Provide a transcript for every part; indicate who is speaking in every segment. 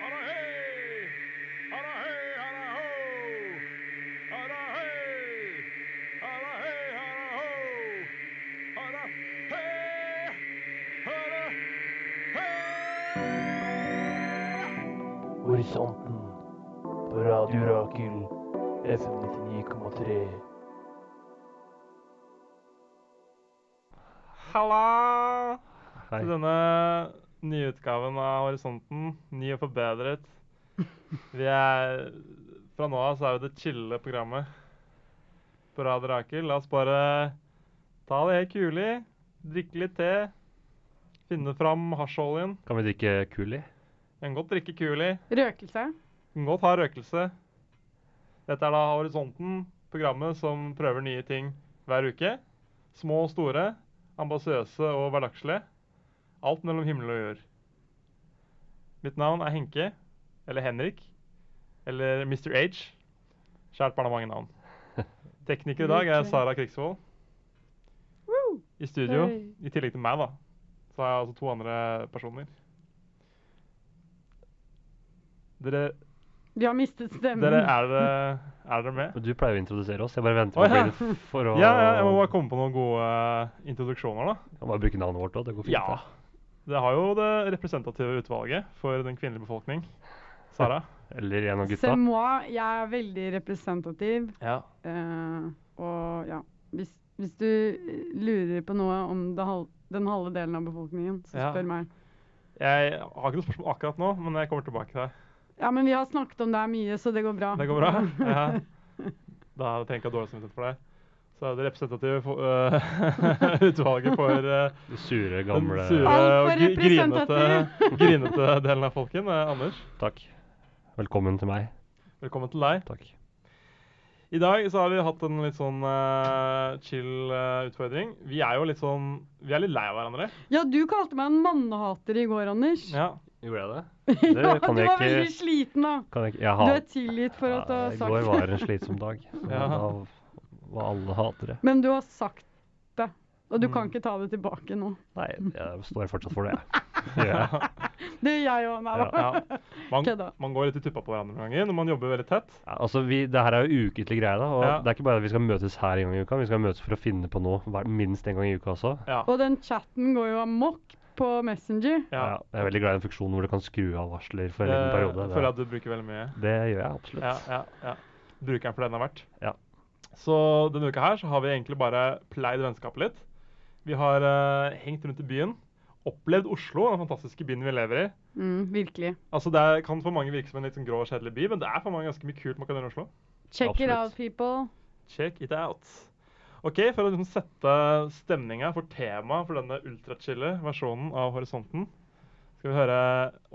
Speaker 1: Hara hei! Hara hei, hara ho! Hara hei! Hara hei, hara ho! Hara hei! Hara hei!
Speaker 2: Horisonten på Radio Rakel FM 99,3.
Speaker 3: Halla!
Speaker 4: Hei.
Speaker 3: Til denne nyutgaven av Horisonten. Ny og forbedret. Vi er Fra nå av så er vi det chille programmet på Radio Rakel. La oss bare ta det helt kulig, drikke litt te, finne fram hasjoljen.
Speaker 4: Kan vi drikke kuli?
Speaker 3: En godt drikke kuli,
Speaker 5: Røkelse.
Speaker 3: en godt ha røkelse. Dette er da Horisonten, programmet som prøver nye ting hver uke. Små og store, ambisiøse og hverdagslige. Alt mellom himmel og jord. Mitt navn er Henke, eller Henrik, eller Mr. H. Kjært barn har mange navn. Tekniker i dag er Sara Krigsvold.
Speaker 5: Woo!
Speaker 3: I studio,
Speaker 5: Hey.
Speaker 3: i tillegg til meg, da, så har jeg altså to andre personer. Dere,
Speaker 5: Vi har mistet stemmen.
Speaker 3: dere er, dere, er dere med?
Speaker 4: Du pleier å introdusere oss. Jeg bare venter på
Speaker 3: Å,
Speaker 4: å
Speaker 3: ja.
Speaker 4: bli det for å
Speaker 3: Ja, ja, jeg må bare komme på noen gode eh, introduksjoner, da.
Speaker 4: Jeg må bare bruke navnet vårt òg. Det går fint.
Speaker 3: Ja. Det har jo det representative utvalget for den kvinnelige befolkning. Sara.
Speaker 4: det. Eller en av
Speaker 5: C'est
Speaker 4: gutta.
Speaker 5: moi. Jeg er veldig representativ.
Speaker 3: Ja.
Speaker 5: eh, og ja hvis, hvis du eh, lurer på noe om det hal den halve delen av befolkningen, så
Speaker 3: Ja.
Speaker 5: spør meg.
Speaker 3: Jeg har ikke noe spørsmål akkurat nå, men jeg kommer tilbake til deg.
Speaker 5: Ja, men vi har snakket om det her mye, så det går bra.
Speaker 3: Det går bra? Ja. Da trenger jeg ikke ha dårlig samvittighet for deg. Så er det representative for, øh, utvalget for øh,
Speaker 4: De Sure,
Speaker 3: den
Speaker 4: gamle
Speaker 3: sure
Speaker 5: Alt for
Speaker 3: og gri- grinete,
Speaker 5: representativ.
Speaker 3: grinete delen av folken. Eh, Anders,
Speaker 4: Takk. Velkommen til meg.
Speaker 3: velkommen til deg.
Speaker 4: Takk.
Speaker 3: I dag så har vi hatt en litt sånn eh, chill eh, utfordring. Vi er jo litt sånn Vi er litt lei av hverandre.
Speaker 5: Ja, du kalte meg en mannehater i går, Anders.
Speaker 3: Ja.
Speaker 4: Gjorde jeg det?
Speaker 5: Ja,
Speaker 4: Det kan
Speaker 5: du
Speaker 4: jeg
Speaker 5: var veldig
Speaker 4: ikke
Speaker 5: sliten, da.
Speaker 4: kan jeg, ikke- jeg
Speaker 5: Du
Speaker 4: hat-
Speaker 5: er tilgitt for at du har
Speaker 4: Ja, I
Speaker 5: sagt
Speaker 4: går var en slitsom dag. Så
Speaker 3: Ja.
Speaker 4: Da var alle hatere.
Speaker 5: Men du har sagt det, og du kan
Speaker 3: Mm.
Speaker 5: ikke ta det tilbake nå.
Speaker 4: Nei, jeg står fortsatt for det, jeg. Det gjør jeg.
Speaker 5: Det gjør jeg òg. Nei da.
Speaker 3: ja. Man,
Speaker 5: Kødda.
Speaker 3: man går litt i tuppa på hverandre noen ganger når man jobber veldig tett.
Speaker 4: Ja, altså, vi, det her er jo ukentlig greie, da. Og
Speaker 3: Ja.
Speaker 4: det er ikke bare at vi skal møtes her en gang i uka, vi skal møtes for å finne på noe hver, minst en gang i uka også.
Speaker 3: Ja.
Speaker 5: Og den chatten går jo amok på Messenger.
Speaker 4: Ja.
Speaker 3: ja.
Speaker 4: jeg er veldig glad i en funksjon hvor du kan skru av varsler for en liten
Speaker 3: Det
Speaker 4: periode.
Speaker 3: føler jeg
Speaker 4: Det,
Speaker 3: at du bruker veldig mye.
Speaker 4: det gjør jeg absolutt.
Speaker 3: Ja, ja, ja. Brukeren for den har vært.
Speaker 4: Ja.
Speaker 3: Så denne uka her så har vi egentlig bare pleid vennskapet litt. Vi har eh, hengt rundt i byen, opplevd Oslo, den fantastiske byen vi lever i.
Speaker 5: Mm, virkelig.
Speaker 3: Altså Det er, kan for mange virke som en litt sånn grå og kjedelig by, men det er for mange ganske mye kult man kan gjøre i Oslo.
Speaker 5: Check it
Speaker 4: Absolutt.
Speaker 5: out, people.
Speaker 3: Check it out. Ok, For å liksom sette stemninga for temaet for denne ultrachille versjonen av Horisonten, skal vi høre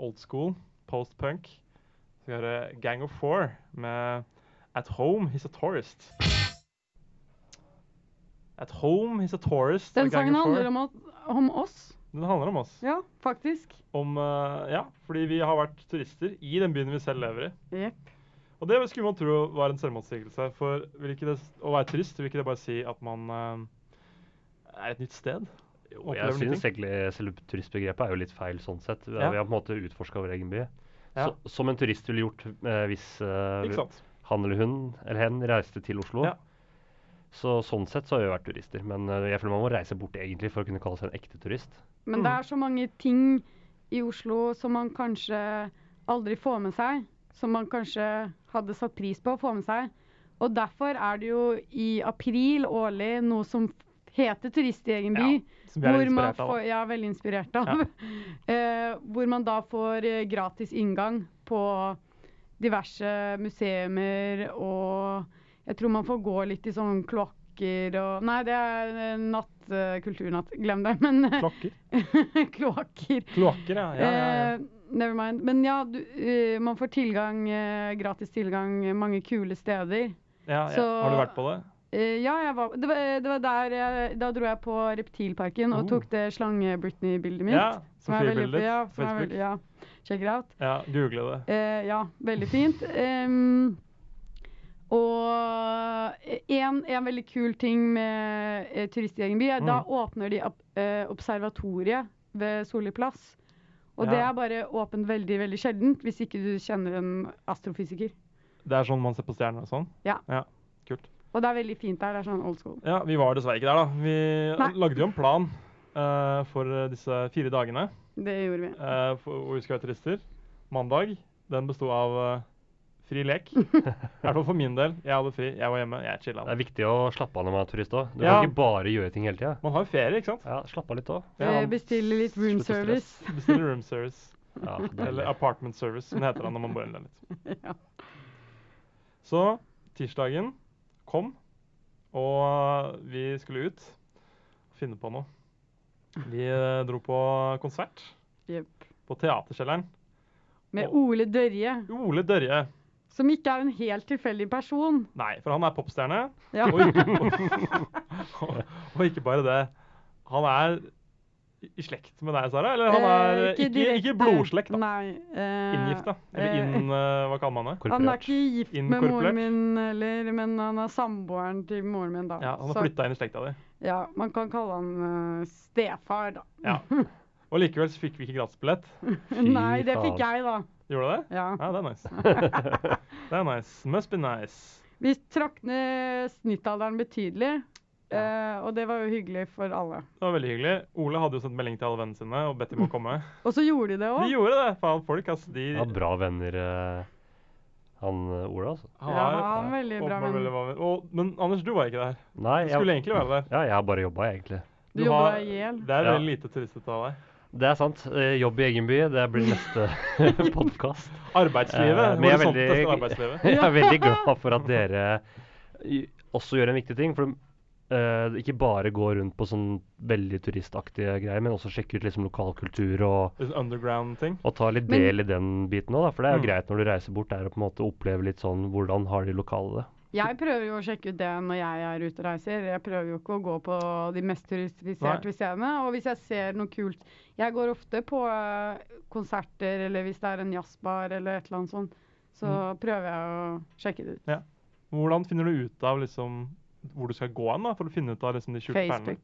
Speaker 3: old school, post-punk. Vi skal høre Gang of Four med At Home He's a Tourist. At Home He's a Tourist.
Speaker 5: Den sangen handler om, at- om oss.
Speaker 3: Den handler om oss.
Speaker 5: Ja, faktisk.
Speaker 3: Om, eh, ja, fordi vi har vært turister i den byen vi selv lever i.
Speaker 5: Jepp.
Speaker 3: Og det skulle man tro var en selvmotsigelse. For vil ikke det, å være turist vil ikke det bare si at man eh, er et nytt sted?
Speaker 4: Jo,
Speaker 3: Opplever
Speaker 4: jeg
Speaker 3: nye
Speaker 4: synes egentlig selve turistbegrepet er jo litt feil sånn sett. Vi
Speaker 3: Ja.
Speaker 4: har- Vi har på en måte utforska vår egen by.
Speaker 3: Ja.
Speaker 4: Så, som en turist ville gjort eh, hvis eh,
Speaker 3: Ikke sant?
Speaker 4: han eller hun eller hen reiste til Oslo.
Speaker 3: Ja.
Speaker 4: Så sånn sett så har vi vært turister. Men eh, jeg føler man må reise bort egentlig for å kunne kalle seg en ekte turist.
Speaker 5: Men det er så mange ting i Oslo som man kanskje aldri får med seg. Som man kanskje hadde satt pris på å få med seg. Og derfor er det jo i april årlig noe som heter Turist i egen by.
Speaker 3: Ja. Som vi er
Speaker 5: hvor
Speaker 3: litt
Speaker 5: man
Speaker 3: inspirert av.
Speaker 5: Får,
Speaker 3: da.
Speaker 5: jeg er veldig inspirert av. Eh, hvor man da får eh, gratis inngang på diverse museumer og Jeg tror man får gå litt i sånn kloakker og Nei, det er eh, natt, eh, kulturnatt. Glem det. Men
Speaker 3: Kloakker.
Speaker 5: kloakker.
Speaker 3: Kloakker, ja. ja, ja, ja.
Speaker 5: Eh, never mind. Men ja, du, eh, man får tilgang, eh, gratis tilgang eh, mange kule steder.
Speaker 3: ja, ja.
Speaker 5: så-
Speaker 3: Har du vært på det?
Speaker 5: Eh, ja, jeg var, det, var, det var der jeg, Da dro jeg på Reptilparken og
Speaker 3: Oh.
Speaker 5: tok det slange-Britney-bildet mitt.
Speaker 3: Ja,
Speaker 5: som er veldig,
Speaker 3: profilbildet
Speaker 5: ja,
Speaker 3: på
Speaker 5: som er
Speaker 3: Facebook.
Speaker 5: veldig, ja, check it out.
Speaker 3: Ja, google det.
Speaker 5: Eh, ja, veldig fint. Em, og en, en veldig kul ting med
Speaker 3: Mm.
Speaker 5: eh, uh, turistgjengen by, er da åpner de opp, eh, observatoriet ved Solli plass. Og
Speaker 3: Ja.
Speaker 5: det er bare åpent veldig veldig sjeldent hvis ikke du kjenner en astrofysiker.
Speaker 3: Det er sånn man ser på stjerner og sånn?
Speaker 5: Ja.
Speaker 3: Kult.
Speaker 5: Og det er veldig fint der. Det er sånn old school.
Speaker 3: Ja, vi var dessverre ikke der, da. Vi
Speaker 5: Nei.
Speaker 3: lagde jo en plan eh, for eh, disse fire dagene
Speaker 5: Det gjorde vi.
Speaker 3: eh, for, hvor vi skulle være turister. Mandag, den besto av eh, fri lek. I hvert fall for min del. Jeg hadde fri, jeg var hjemme, jeg chilla.
Speaker 4: Det er viktig å slappe av når man er turist òg. Du
Speaker 3: Ja.
Speaker 4: kan ikke bare gjøre ting hele tida.
Speaker 3: Man har jo ferie, ikke sant?
Speaker 4: Ja, slappe av litt òg.
Speaker 3: Ja.
Speaker 5: Eh, Bestille litt room
Speaker 4: Slutt å stresse.
Speaker 5: service.
Speaker 3: Bestiller room service.
Speaker 4: Ja,
Speaker 3: Eller
Speaker 4: deilig.
Speaker 3: apartment service, som det heter da når man bor i en leilighet.
Speaker 5: Ja.
Speaker 3: Så tirsdagen kom, og eh, vi skulle ut og finne på noe. Vi eh, dro på konsert
Speaker 5: Jep.
Speaker 3: på Teaterkjelleren.
Speaker 5: Med
Speaker 3: Og-
Speaker 5: Ole Dørje,
Speaker 3: Ole Dørje.
Speaker 5: som ikke er en helt tilfeldig person.
Speaker 3: Nei, for han er popstjerne.
Speaker 5: Ja.
Speaker 3: Og ikke, og, og ikke bare det. Han er i- i slekt med deg, Sara? Eller han er
Speaker 5: Eh,
Speaker 3: eh, ikke, ikke,
Speaker 5: direkte-
Speaker 3: blodslekt, da.
Speaker 5: Nei. eh,
Speaker 3: Inngifta. Eller
Speaker 5: eh,
Speaker 3: inn... eh, Hva kaller man det?
Speaker 5: Han er
Speaker 4: Korporert.
Speaker 5: ikke gift med
Speaker 3: Inkorporert.
Speaker 5: moren min heller, men han er samboeren til moren min, da.
Speaker 3: Ja, Han har
Speaker 5: Så-
Speaker 3: flytta inn i slekta di.
Speaker 5: ja, man kan kalle han eh, stefar, da.
Speaker 3: Ja. Og likevel så fikk vi ikke gratisbillett.
Speaker 4: Fy
Speaker 5: Nei, det fikk
Speaker 4: faen.
Speaker 5: jeg, da.
Speaker 3: Gjorde det?
Speaker 5: Ja.
Speaker 3: Ja, det er nice. Det er nice. Must be nice.
Speaker 5: Vi trakk ned snittalderen betydelig, eh, og det var jo hyggelig for alle.
Speaker 3: Det var veldig hyggelig. Ole hadde jo sendt melding til alle vennene sine og bedt dem å komme.
Speaker 5: Og så gjorde de det
Speaker 3: De
Speaker 5: òg.
Speaker 3: gjorde det! Faen, folk, altså. De
Speaker 4: Han har bra venner, eh, han eh, Ola, altså.
Speaker 3: han
Speaker 5: Ja,
Speaker 3: er-
Speaker 5: han er veldig bra
Speaker 3: åpenbart
Speaker 5: venn.
Speaker 3: veldig bra venn. Og, men Anders, du var ikke der.
Speaker 4: Nei,
Speaker 3: Du skulle egentlig være der.
Speaker 4: Ja, jeg har bare jobba, egentlig.
Speaker 5: Du
Speaker 3: har-
Speaker 5: jobba i hjel.
Speaker 3: Det er
Speaker 4: Ja.
Speaker 3: veldig lite turistete av deg.
Speaker 4: Det er sant. Eh, Jobb i egen by, det blir neste podkast.
Speaker 3: Arbeidslivet.
Speaker 4: Eh, men jeg er
Speaker 3: horisonten
Speaker 4: veldig-
Speaker 3: til sånn arbeidslivet.
Speaker 4: Jeg er veldig glad for at dere i- også gjør en viktig ting. For eh, ikke bare går rundt på sånn veldig turistaktige greier, men også sjekker ut liksom lokal kultur og,
Speaker 3: Litt Underground-ting.
Speaker 4: og tar litt
Speaker 5: Men-
Speaker 4: del i den biten òg, da. For det er
Speaker 3: Mm.
Speaker 4: jo greit når du reiser bort der og på en måte opplever litt sånn hvordan har de lokale det.
Speaker 5: Jeg prøver jo å sjekke ut det når jeg er ute og reiser. Jeg prøver jo ikke å gå på de mest turistifiserte stedene. Og hvis jeg ser noe kult Jeg går ofte på eh, konserter, eller hvis det er en jazzbar eller et eller annet sånt, så
Speaker 3: Mm.
Speaker 5: prøver jeg å sjekke det ut.
Speaker 3: Hvordan finner du ut av liksom hvor du skal gå hen, da, for å finne ut av liksom de skjulte perlene?
Speaker 5: Facebook.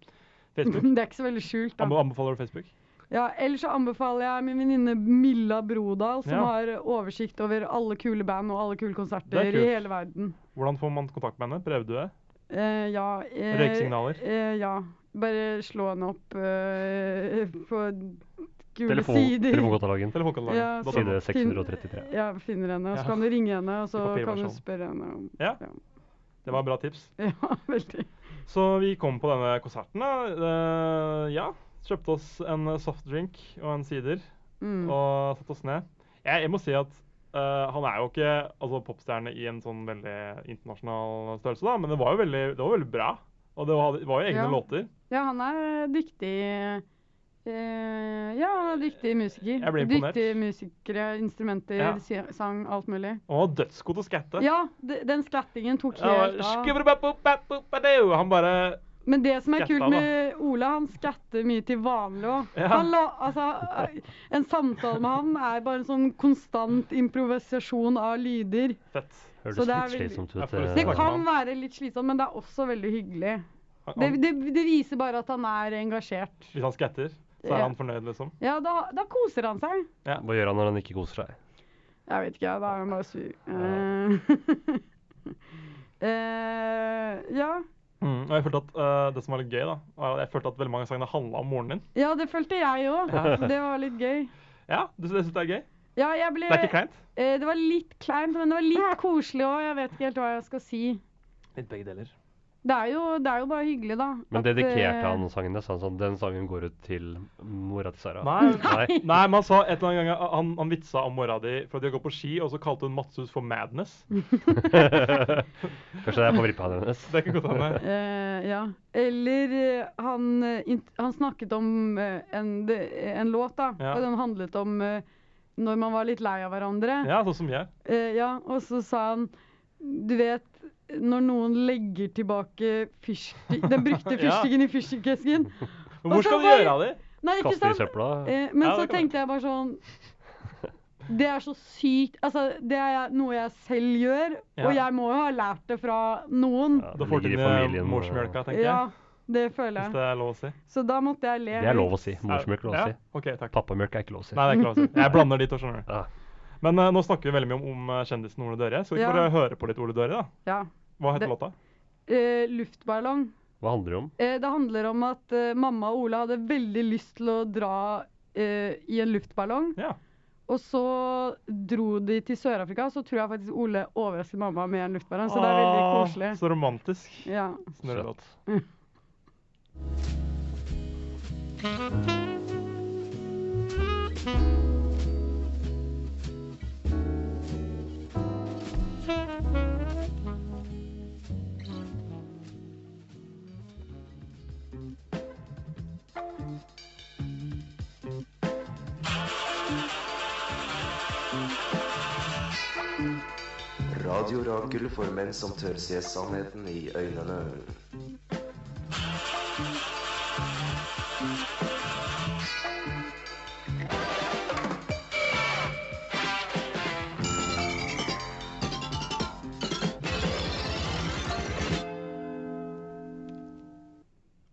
Speaker 3: Facebook.
Speaker 5: Det er ikke så veldig skjult,
Speaker 3: Anbe-
Speaker 5: da.
Speaker 3: Anbefaler du Facebook?
Speaker 5: Ja, ellers så anbefaler jeg min venninne Milla Brodal, som
Speaker 3: Ja.
Speaker 5: har oversikt over alle kule band og alle kule konserter
Speaker 3: Det er
Speaker 5: i
Speaker 3: kult.
Speaker 5: hele verden.
Speaker 3: Hvordan får man kontakt med henne? Prøvde du det?
Speaker 5: Eh, ja, eh,
Speaker 3: Røyksignaler?
Speaker 5: Eh, ja. Bare slå henne opp eh, på gule
Speaker 4: Telefon,
Speaker 5: sider.
Speaker 4: telefonkatalogen.
Speaker 3: Telefonkatalogen.
Speaker 5: Ja,
Speaker 3: dot no.
Speaker 4: Side
Speaker 5: Finn-
Speaker 4: 633.
Speaker 5: Ja, finner henne. og
Speaker 3: Ja.
Speaker 5: Så kan du ringe henne, og så
Speaker 3: I
Speaker 5: kan du
Speaker 3: papirversjon.
Speaker 5: spørre henne om
Speaker 3: Ja.
Speaker 5: Ja,
Speaker 3: Det var bra tips.
Speaker 5: ja veldig.
Speaker 3: Så vi kom på denne konserten, da. Eh, ja. Kjøpte oss en softdrink og en sider
Speaker 5: Mm.
Speaker 3: og satte oss ned. Jeg, jeg må si at eh, han er jo ikke altså, popstjerne i en sånn veldig internasjonal størrelse, da, men det var jo veldig, det var veldig bra. Og det var, det var jo egne
Speaker 5: Ja.
Speaker 3: låter.
Speaker 5: Ja, han er dyktig eh, Ja, han er dyktig musiker.
Speaker 3: Jeg ble imponert.
Speaker 5: Dyktige musikere, instrumenter,
Speaker 3: Ja.
Speaker 5: si- sang, alt mulig.
Speaker 3: Og han var dødsgod til å skatte.
Speaker 5: Ja, de- den skattingen tok
Speaker 3: Det var
Speaker 5: helt av.
Speaker 3: skubberabababababadau. Han bare
Speaker 5: Men det som er
Speaker 3: Skatta,
Speaker 5: kult med Ole, han skatter mye til vanlig òg.
Speaker 3: Ja.
Speaker 5: Altså, en samtale med han er bare en sånn konstant improvisasjon av lyder.
Speaker 3: Fett.
Speaker 4: Høres
Speaker 5: Så det er
Speaker 4: litt
Speaker 5: veldig-
Speaker 4: slitsomt
Speaker 3: Jeg
Speaker 4: ut.
Speaker 3: får lyst
Speaker 5: Det
Speaker 3: til å snakke
Speaker 4: eh,
Speaker 5: kan være litt slitsomt, men det er også veldig hyggelig.
Speaker 3: Han,
Speaker 5: Det,
Speaker 3: han,
Speaker 5: det, det viser bare at han er engasjert.
Speaker 3: hvis han skatter, så er
Speaker 5: Ja.
Speaker 3: han fornøyd, liksom.
Speaker 5: Ja, da, da koser han seg.
Speaker 4: Hva gjør han når han ikke koser seg?
Speaker 5: Jeg vet ikke, da er han bare sur. Eh, eh, ja.
Speaker 3: Mm, og jeg følte at eh, det som var litt gøy, da, var at jeg følte at veldig mange av sangene handla om moren din.
Speaker 5: ja, det følte jeg òg. Det var litt gøy.
Speaker 3: Ja, du syns det er gøy?
Speaker 5: Ja, jeg ble,
Speaker 3: Det er ikke kleint?
Speaker 5: eh, det var litt kleint, men det var litt koselig òg. Jeg vet ikke helt hva jeg skal si.
Speaker 3: Litt begge deler.
Speaker 5: Det er jo, det er jo bare hyggelig, da.
Speaker 4: Men
Speaker 5: at, eh,
Speaker 4: dedikerte han sangen? Det, sa han sånn, den sangen går ut til mora til Sara.
Speaker 3: Nei.
Speaker 4: Nei.
Speaker 3: Nei, men han sa et eller annet gang han, han vitsa om mora di for at de har gått på ski, og så kalte hun Madshus for Madness.
Speaker 4: Kanskje det er favorittplanen hennes.
Speaker 3: Det kan godt hende.
Speaker 5: Eh, ja. Eller eh, han, eh, int- han snakket om eh, en, det- en låt, da.
Speaker 3: Ja.
Speaker 5: Og den handlet om eh, når man var litt lei av hverandre.
Speaker 3: Ja, sånn som jeg.
Speaker 5: Eh, ja. Og så sa han Du vet når noen legger tilbake fyrstikk Den brukte
Speaker 3: Ja.
Speaker 5: fyrstikken i fyrstikkesken.
Speaker 3: Men hvor
Speaker 5: Og så
Speaker 3: skal du
Speaker 5: var-
Speaker 3: gjøre av det?
Speaker 5: Nei, ikke
Speaker 4: Kaster i
Speaker 5: sant?
Speaker 4: søpla.
Speaker 5: Eh, men
Speaker 3: Ja,
Speaker 5: så
Speaker 3: det kan
Speaker 5: tenkte jeg bare sånn Det er så sykt Altså, det er jeg- noe jeg selv gjør,
Speaker 3: Ja.
Speaker 5: og jeg må jo ha lært det fra noen.
Speaker 4: Ja,
Speaker 3: Da
Speaker 4: det
Speaker 3: får du
Speaker 4: ligger i
Speaker 3: inn eh,
Speaker 4: familien. og-
Speaker 3: morsmjølka, tenker
Speaker 5: Ja,
Speaker 3: jeg.
Speaker 5: Det føler
Speaker 3: hvis
Speaker 5: jeg.
Speaker 3: det er lov å si.
Speaker 5: Så da måtte jeg le.
Speaker 4: Det er lov å
Speaker 5: litt.
Speaker 4: si. Morsmjølk er lov å si.
Speaker 3: Ja, ok, takk.
Speaker 4: Pappamjølk er ikke lov å si.
Speaker 3: Nei, det er ikke lov å si. Jeg blander de to, skjønner
Speaker 4: Ja.
Speaker 3: du. Men eh, nå snakker vi veldig mye om, om eh, kjendisen Ole Døre. Skal vi ikke
Speaker 5: Ja.
Speaker 3: bare høre på litt Ole Døre, da?
Speaker 5: Ja.
Speaker 3: Hva heter
Speaker 5: Det-
Speaker 3: låta?
Speaker 5: Eh, luftballong.
Speaker 4: Hva handler det om?
Speaker 5: Eh, det handler om at eh, mamma og Ola hadde veldig lyst til å dra eh, i en luftballong.
Speaker 3: Ja.
Speaker 5: Og så dro de til Sør-Afrika, så tror jeg faktisk Ole overrasket mamma med en luftballong. Så altså, det er veldig
Speaker 3: Åh,
Speaker 5: koselig.
Speaker 3: Ah, Så romantisk.
Speaker 5: Ja.
Speaker 3: Snurrelåt.
Speaker 6: Radio Rakel for menn som tør se sannheten i øynene.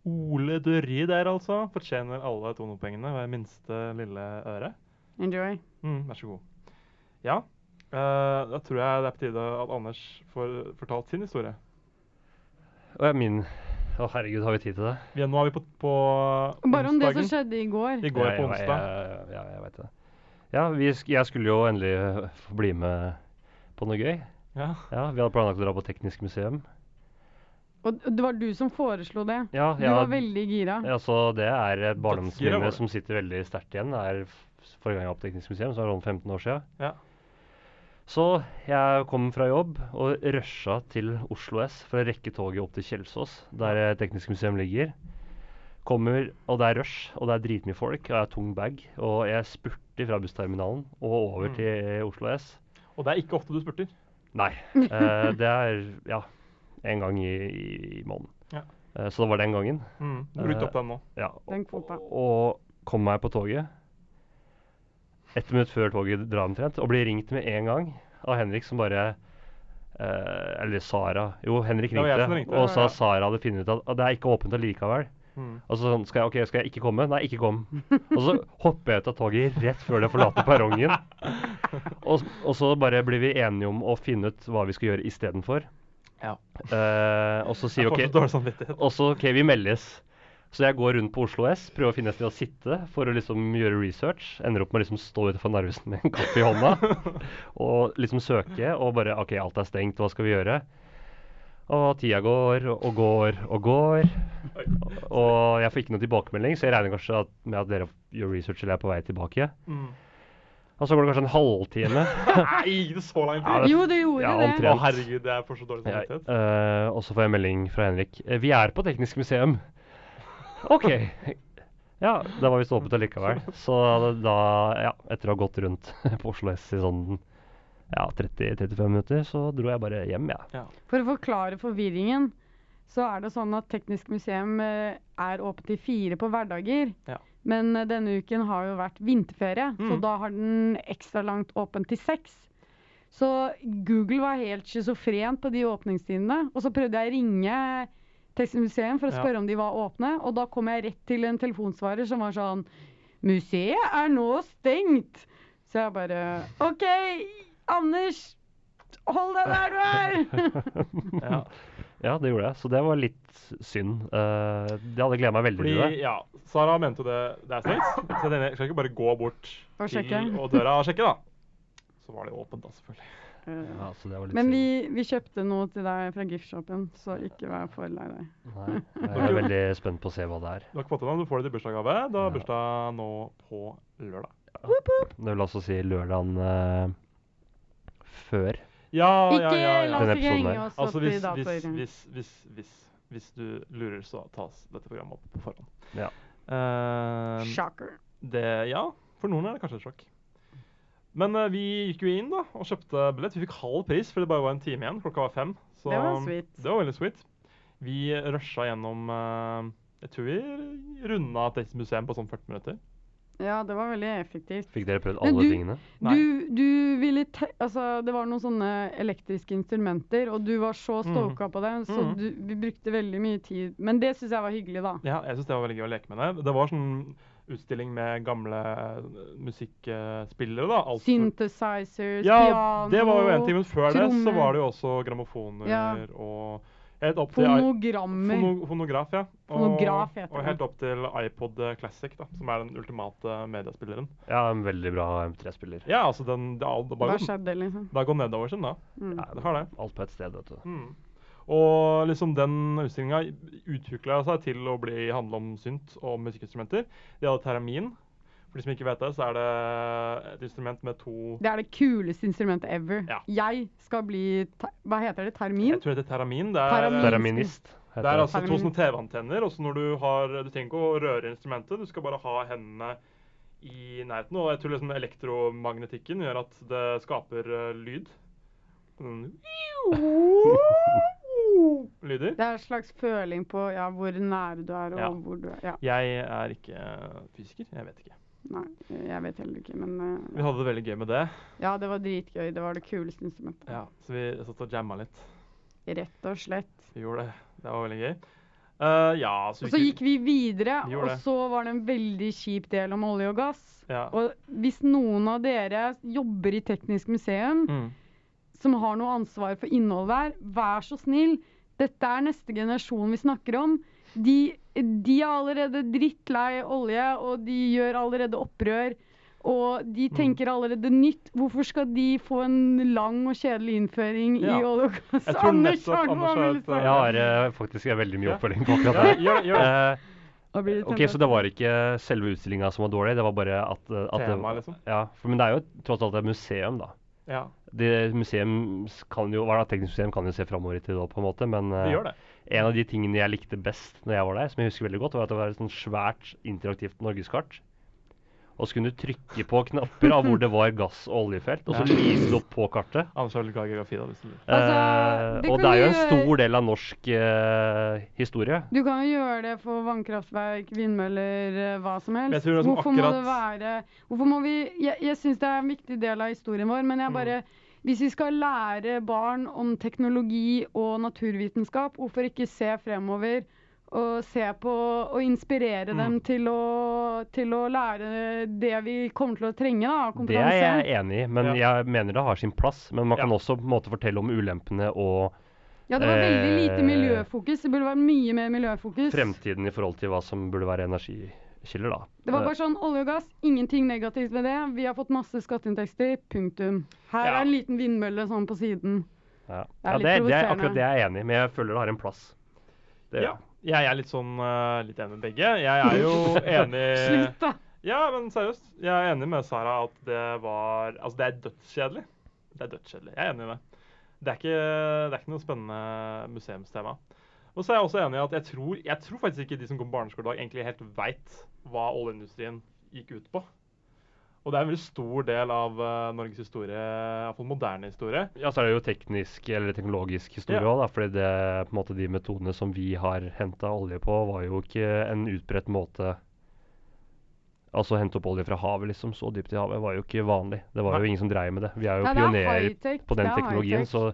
Speaker 3: Ole Dørri der, altså. Fortjener alle toneoppengene ved minste lille øre.
Speaker 5: Enjoy.
Speaker 3: Mm, vær så god. Ja, eh, da tror jeg det er på tide at Anders får fortalt sin historie.
Speaker 4: Å, ja, min Å, herregud, har vi tid til det?
Speaker 3: Vi, nå er vi på, på
Speaker 5: Bare om det som
Speaker 3: onsdagen.
Speaker 5: skjedde i går.
Speaker 3: I går
Speaker 4: Ja,
Speaker 3: på
Speaker 4: ja,
Speaker 3: onsdag.
Speaker 4: Ja, ja, jeg vet det. Ja, vi sk jeg skulle jo endelig øh, få bli med på noe gøy.
Speaker 3: Ja.
Speaker 4: Ja, Vi hadde planlagt å dra på teknisk museum.
Speaker 5: Og det var du som foreslo det.
Speaker 4: Ja,
Speaker 5: Du
Speaker 4: ja,
Speaker 5: var veldig gira.
Speaker 4: ja, så Det er et
Speaker 3: Dødsgira var
Speaker 4: barndomsminne
Speaker 3: det.
Speaker 4: som sitter veldig sterkt igjen. Det er f- Forrige gang jeg var på teknisk museum, så er det sånn 15 år siden.
Speaker 3: Ja.
Speaker 4: Så jeg kom fra jobb og rusha til Oslo S for å rekke toget opp til Kjelsås, der eh, teknisk museum ligger. Kommer, og det er rush, og det er dritmye folk, og jeg har tung bag. Og jeg spurter fra bussterminalen og over
Speaker 3: Mm.
Speaker 4: til Oslo S.
Speaker 3: Og det er ikke ofte du spurter.
Speaker 4: Nei. eh, det er ja, en gang i, i, i måneden.
Speaker 3: Ja.
Speaker 4: Eh, så det var den gangen.
Speaker 3: Mm. Brutt opp
Speaker 4: Eh,
Speaker 3: den nå.
Speaker 4: Ja,
Speaker 5: Den
Speaker 4: og,
Speaker 5: kvota.
Speaker 4: og kom meg på toget. Ett minutt før toget drar omtrent, og blir ringt med en gang av Henrik som bare eh, Eller Sara. Jo, Henrik
Speaker 3: Det var jeg
Speaker 4: ringte,
Speaker 3: som ringte.
Speaker 4: og sa
Speaker 3: Ja.
Speaker 4: Sara hadde funnet ut at at det er ikke åpent allikevel.
Speaker 3: Mm.
Speaker 4: Og så sånn, skal jeg, ok, skal jeg ikke komme? Nei, ikke kom. Og så hopper jeg ut av toget rett før det forlater perrongen. Og, og så bare blir vi enige om å finne ut hva vi skal gjøre istedenfor.
Speaker 3: Ja.
Speaker 4: Eh, og så sier
Speaker 3: Jeg
Speaker 4: vi
Speaker 3: får
Speaker 4: ok,
Speaker 3: så dårlig samvittighet.
Speaker 4: og så, ok, vi meldes. Så jeg går rundt på Oslo S, prøver å finne et sted å sitte for å liksom gjøre research. Ender opp med å liksom stå utenfor Narvesen med en kaffe i hånda og liksom søke. Og bare OK, alt er stengt, hva skal vi gjøre? Og tida går og går og går. Og jeg får ikke noe tilbakemelding, så jeg regner kanskje at, med at dere gjør research eller er på vei tilbake.
Speaker 3: Mm.
Speaker 4: Og så går det kanskje en halvtime.
Speaker 3: Nei, gikk det så lang
Speaker 4: Ja,
Speaker 3: tid?
Speaker 4: det-
Speaker 5: Jo, det gjorde
Speaker 4: Ja,
Speaker 5: det.
Speaker 4: omtrent.
Speaker 3: Å, herregud, jeg får så dårlig
Speaker 4: Ja,
Speaker 3: samvittighet.
Speaker 4: eh, og så får jeg melding fra Henrik. Eh, Vi er på Teknisk museum. OK. Ja, da var visst åpent allikevel. Så da, ja, etter å ha gått rundt på Oslo S i sånn ja, 30-35 minutter, så dro jeg bare hjem, jeg.
Speaker 5: For å forklare forvirringen, så er det sånn at Teknisk museum eh, er åpent til fire på hverdager.
Speaker 3: Ja.
Speaker 5: Men eh, denne uken har jo vært vinterferie, så
Speaker 3: Mm.
Speaker 5: da har den ekstra langt åpent til seks. Så Google var helt schizofren på de åpningstidene. Og så prøvde jeg å ringe Teknisk museum for å
Speaker 3: Ja.
Speaker 5: spørre om de var åpne, og da kom jeg rett til en telefonsvarer som var sånn Museet er nå stengt! Så jeg bare OK, Anders! Hold deg der du er!
Speaker 3: Ja.
Speaker 4: Ja, det gjorde jeg. Så det var litt synd. Eh, det hadde gleda meg veldig
Speaker 3: Fordi,
Speaker 4: til det.
Speaker 3: ja, Sara mente jo det, det er stengt, så jeg skal ikke bare gå bort
Speaker 5: Og
Speaker 3: til
Speaker 5: sjekke.
Speaker 3: og døra og sjekke, da. Så var det jo åpent, da, selvfølgelig.
Speaker 5: Eh,
Speaker 4: Ja, så det var litt
Speaker 5: Men
Speaker 4: synd.
Speaker 5: vi, vi kjøpte noe til deg fra giftshopen, så ikke vær for lei deg.
Speaker 4: Nei, jeg er veldig spent på å se hva det er.
Speaker 3: Du har ikke fått det, da, men du får det i bursdagsgave. Du har
Speaker 4: Ja.
Speaker 3: bursdag nå på lørdag.
Speaker 4: Det vil altså si lørdagen eh, før.
Speaker 3: Ja, ja, ja.
Speaker 5: Ikke la
Speaker 3: ja.
Speaker 4: Denne
Speaker 5: oss ikke
Speaker 4: episoden
Speaker 5: henge
Speaker 4: her.
Speaker 5: oss
Speaker 3: Altså,
Speaker 5: opp i
Speaker 3: hvis, hvis,
Speaker 5: datoer.
Speaker 3: hvis, hvis, hvis, hvis du lurer, så tas dette programmet opp på forhånd.
Speaker 4: Ja.
Speaker 3: Eh,
Speaker 5: Shocker.
Speaker 3: det, ja, for noen er det kanskje et sjokk. Men eh, vi gikk jo inn da, og kjøpte billett. Vi fikk halv pris, for det bare var en time igjen. Klokka var fem. Så
Speaker 5: Det var sweet.
Speaker 3: det var veldig sweet. Vi rusha gjennom eh, Jeg tror vi runda Tekstmuseet på sånn 40 minutter.
Speaker 5: Ja, det var veldig effektivt.
Speaker 4: Fikk dere prøvd
Speaker 5: Men
Speaker 4: alle
Speaker 5: du-
Speaker 4: tingene?
Speaker 3: Nei.
Speaker 5: Du, du ville te altså, det var noen sånne elektriske instrumenter, og du var så
Speaker 3: Mm.
Speaker 5: stoka på det, så
Speaker 3: Mhm.
Speaker 5: du, vi brukte veldig mye tid. Men det syns jeg var hyggelig, da.
Speaker 3: Ja, jeg syns det var veldig gøy å leke med det. Det var sånn utstilling med gamle eh, musikkspillere, da. Alt-
Speaker 5: Synthesizers,
Speaker 3: ja,
Speaker 5: piano
Speaker 3: det var jo en ting, men før det så
Speaker 5: trommer.
Speaker 3: var det jo også grammofoner
Speaker 5: Ja.
Speaker 3: og helt opp til i-
Speaker 5: Fonogrammer.
Speaker 3: fono, Fonograf, ja. Og,
Speaker 5: Fonograf heter
Speaker 3: og
Speaker 5: det.
Speaker 3: helt opp til iPod Classic, da, som er den ultimate mediespilleren.
Speaker 4: Ja, en veldig bra MP3-spiller.
Speaker 3: Ja, altså den Det har det har
Speaker 5: Hva
Speaker 3: bare gått-
Speaker 5: skjedde, liksom?
Speaker 3: det har gått nedover siden da.
Speaker 5: Mm.
Speaker 3: Det har det.
Speaker 4: Alt på et sted, vet du.
Speaker 3: Mm. Og liksom den utstillinga utvikla seg til å bli handle om synt og musikkinstrumenter. De hadde teramin. For de som ikke vet det, så er det et instrument med to
Speaker 5: Det er det kuleste instrumentet ever.
Speaker 3: Ja.
Speaker 5: Jeg skal bli te Hva heter
Speaker 3: Jeg
Speaker 5: det? Termin?
Speaker 3: tror det heter teramin. Det er,
Speaker 5: Teramin.
Speaker 4: Teraminist. heter
Speaker 3: det er altså to
Speaker 5: Teramin.
Speaker 3: sånne TV-antenner. Og så når du har Du trenger ikke å røre instrumentet, du skal bare ha hendene i nærheten. Og jeg tror liksom elektromagnetikken gjør at det skaper eh, lyd. Sånn Lyder.
Speaker 5: Det er en slags føling på ja, hvor nære du er, og
Speaker 3: Ja.
Speaker 5: hvor du er Ja,
Speaker 3: Jeg er ikke eh, fysiker. Jeg vet ikke.
Speaker 5: nei, jeg vet heller ikke, men eh,
Speaker 3: Vi hadde det veldig gøy med det.
Speaker 5: Ja, det var dritgøy. Det var det kuleste instrumentet.
Speaker 3: Ja, Så vi satt og jamma litt.
Speaker 5: Rett og slett.
Speaker 3: Vi gjorde det. Det var veldig gøy. Eh, ja, så,
Speaker 5: Og så gikk vi videre,
Speaker 3: Vi gjorde
Speaker 5: og
Speaker 3: det.
Speaker 5: så var det en veldig kjip del om olje og gass.
Speaker 3: Ja.
Speaker 5: Og hvis noen av dere jobber i Teknisk museum,
Speaker 3: Mm.
Speaker 5: som har noe ansvar for innhold der, vær så snill. Dette er neste generasjon vi snakker om. De, de er allerede drittlei olje, og de gjør allerede opprør. Og de
Speaker 3: Mm.
Speaker 5: tenker allerede nytt. Hvorfor skal de få en lang og kjedelig innføring
Speaker 3: Ja.
Speaker 5: i olje og gass?
Speaker 3: Jeg tror nettopp
Speaker 5: har noe
Speaker 3: Anders har
Speaker 5: han vil
Speaker 3: et,
Speaker 5: si.
Speaker 4: Jeg har eh, faktisk eh, veldig mye
Speaker 3: Ja.
Speaker 4: oppfølging på akkurat
Speaker 3: Ja,
Speaker 4: det.
Speaker 3: gjør, gjør det.
Speaker 4: Eh,
Speaker 5: Da blir det
Speaker 4: ok,
Speaker 5: tempest.
Speaker 4: Så det var ikke selve utstillinga som var dårlig, det var bare at, eh, at det-
Speaker 3: Tema, liksom.
Speaker 4: Ja, for, Men det er jo tross alt et museum, da.
Speaker 3: Ja,
Speaker 4: Det museum s- kan jo, hva er det, Teknisk museum kan jo se framover i tid, også, på en måte, men
Speaker 3: vi
Speaker 4: eh,
Speaker 3: gjør det.
Speaker 4: en av de tingene jeg likte best når jeg var der, som jeg husker veldig godt, var at det var et sånn svært interaktivt norgeskart. Og så kunne du trykke på knapper av hvor det var gass- og oljefelt, og så
Speaker 3: Ja.
Speaker 4: lyste det opp på kartet.
Speaker 3: Anders har litt glad i geografi, da. Hvis du lurer.
Speaker 5: Altså,
Speaker 4: Eh,
Speaker 5: det
Speaker 4: og
Speaker 5: kan
Speaker 4: det er jo
Speaker 5: du
Speaker 4: en
Speaker 5: gjøre-
Speaker 4: stor del av norsk eh, historie.
Speaker 5: Du kan jo gjøre det for vannkraftverk, vindmøller, eh, hva som helst.
Speaker 3: Jeg tror det
Speaker 4: liksom
Speaker 3: er som
Speaker 5: hvorfor må det
Speaker 3: akkurat-
Speaker 5: være Hvorfor må vi Jeg, jeg syns det er en viktig del av historien vår,
Speaker 4: Mm.
Speaker 5: men jeg bare Hvis vi skal lære barn om teknologi og naturvitenskap, hvorfor ikke se fremover? Og se på og inspirere dem
Speaker 4: Mm.
Speaker 5: til å, til å lære det vi kommer til å trenge da, av
Speaker 4: Det er
Speaker 5: kompetanse.
Speaker 4: jeg enig i, men jeg mener det har sin plass. Men man kan også på en måte fortelle om ulempene og
Speaker 5: Ja, det var veldig lite
Speaker 4: Eh,
Speaker 5: miljøfokus. Det burde vært mye mer miljøfokus.
Speaker 4: fremtiden i forhold til hva som burde være energikilder, da.
Speaker 5: Det var bare sånn, olje og gass, ingenting negativt med det. Vi har fått masse skatteinntekter, punktum. Her
Speaker 3: Ja.
Speaker 5: er en liten vindmølle sånn på siden.
Speaker 4: ja.
Speaker 5: det er
Speaker 4: Ja, det,
Speaker 5: litt
Speaker 4: det er
Speaker 5: provoserende.
Speaker 4: akkurat det jeg er enig i, men jeg føler det har en plass. Det,
Speaker 3: Ja. Jeg er litt sånn eh, litt enig med begge. Jeg er jo
Speaker 4: Eh,
Speaker 3: enig
Speaker 5: Slutt, da!
Speaker 3: Ja, men seriøst. Jeg er enig med Sara at det var Altså, det er dødskjedelig. Det er dødskjedelig. Jeg er enig i det. Det er ikke, det er ikke noe spennende museumstema. Og så er jeg også enig i at jeg tror, jeg tror faktisk ikke de som går på barneskole i dag, egentlig helt veit hva oljeindustrien gikk ut på. Og det er en veldig stor del av eh, Norges historie, iallfall moderne historie.
Speaker 4: Ja, så er det jo teknisk eller teknologisk historie
Speaker 3: Ja.
Speaker 4: òg, da. Fordi det, på en måte, de metodene som vi har henta olje på, var jo ikke en utbredt måte Altså hente opp olje fra havet, liksom. Så dypt i havet var jo ikke vanlig. Det var
Speaker 3: Nei.
Speaker 4: jo ingen som dreiv med det. Vi er jo
Speaker 5: Ja, det er
Speaker 4: pionerer
Speaker 5: high-tech,
Speaker 4: på den
Speaker 5: det er
Speaker 4: teknologien,
Speaker 5: high-tech.
Speaker 4: så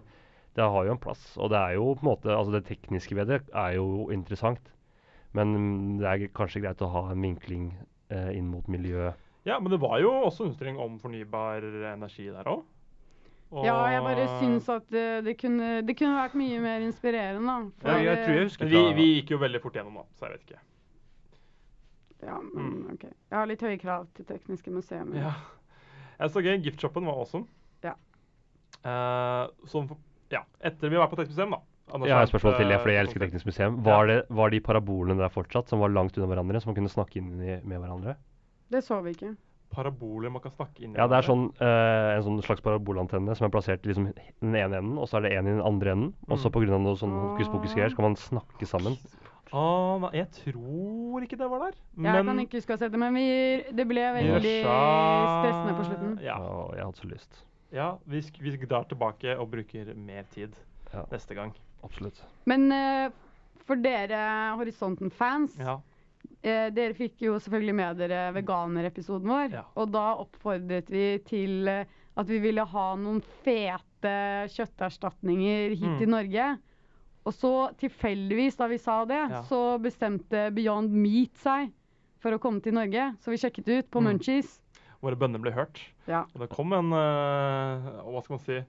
Speaker 4: det har jo en plass. Og det er jo på en måte Altså, det tekniske ved det er jo interessant, men mm, det er kanskje greit å ha en vinkling eh, inn mot miljø.
Speaker 3: Ja, men det var jo også utstilling om fornybar energi der òg.
Speaker 5: Ja, jeg bare syns at eh, det kunne, det kunne vært mye mer inspirerende, da.
Speaker 3: Ja,
Speaker 4: jeg tror jeg
Speaker 3: Men
Speaker 4: husker
Speaker 3: vi,
Speaker 4: fra-
Speaker 3: vi gikk jo veldig fort gjennom, da, så jeg vet ikke.
Speaker 5: Ja, men, ok. Jeg har litt høye krav til tekniske museum.
Speaker 3: Ja. Jeg så gøy. Giftshoppen var awesome.
Speaker 5: Ja.
Speaker 3: Eh, som for, ja, etter vi var på Teknisk museum, da. Anders
Speaker 4: Jeg har
Speaker 3: har
Speaker 4: et spørsmål til, jeg, fordi jeg
Speaker 3: et,
Speaker 4: elsker
Speaker 3: eh,
Speaker 4: Teknisk museum. Var, det, var de parabolene der fortsatt, som var langt unna hverandre, som man kunne snakke inn i, med hverandre?
Speaker 5: Det så vi ikke.
Speaker 3: Paraboler man kan snakke inn i.
Speaker 4: Ja, det er
Speaker 3: hverandre.
Speaker 4: sånn, eh, en sånn slags parabolantenne som er plassert i liksom den ene enden, og så er det en i den andre enden. Og så
Speaker 3: Mm.
Speaker 4: pga. noe sånn hokus pokus-greier, så kan man snakke sammen.
Speaker 3: Ah, nei, jeg tror ikke det var der.
Speaker 5: Jeg kan ikke huske å ha sett det, men vi, det ble
Speaker 3: vi
Speaker 5: veldig
Speaker 3: rusha-
Speaker 5: stressende på slutten.
Speaker 3: Ja.
Speaker 4: Og jeg hadde så lyst.
Speaker 3: ja vi, sk vi drar tilbake og bruker mer tid
Speaker 4: Ja.
Speaker 3: neste gang.
Speaker 4: Absolutt.
Speaker 5: Men eh, for dere Horisonten-fans,
Speaker 3: Ja.
Speaker 5: eh, dere fikk jo selvfølgelig med dere veganerepisoden vår.
Speaker 2: Ja.
Speaker 5: Og da oppfordret vi til eh, at vi ville ha noen fete kjøtterstatninger hit
Speaker 3: Mm.
Speaker 5: til Norge. Og så tilfeldigvis, da vi sa det,
Speaker 2: Ja.
Speaker 5: så bestemte Beyond Meat seg for å komme til Norge. Så vi sjekket ut på
Speaker 3: Mm.
Speaker 5: Munchies.
Speaker 3: Våre bønner ble hørt.
Speaker 5: Ja.
Speaker 3: Og det kom en eh, Hva skal man si?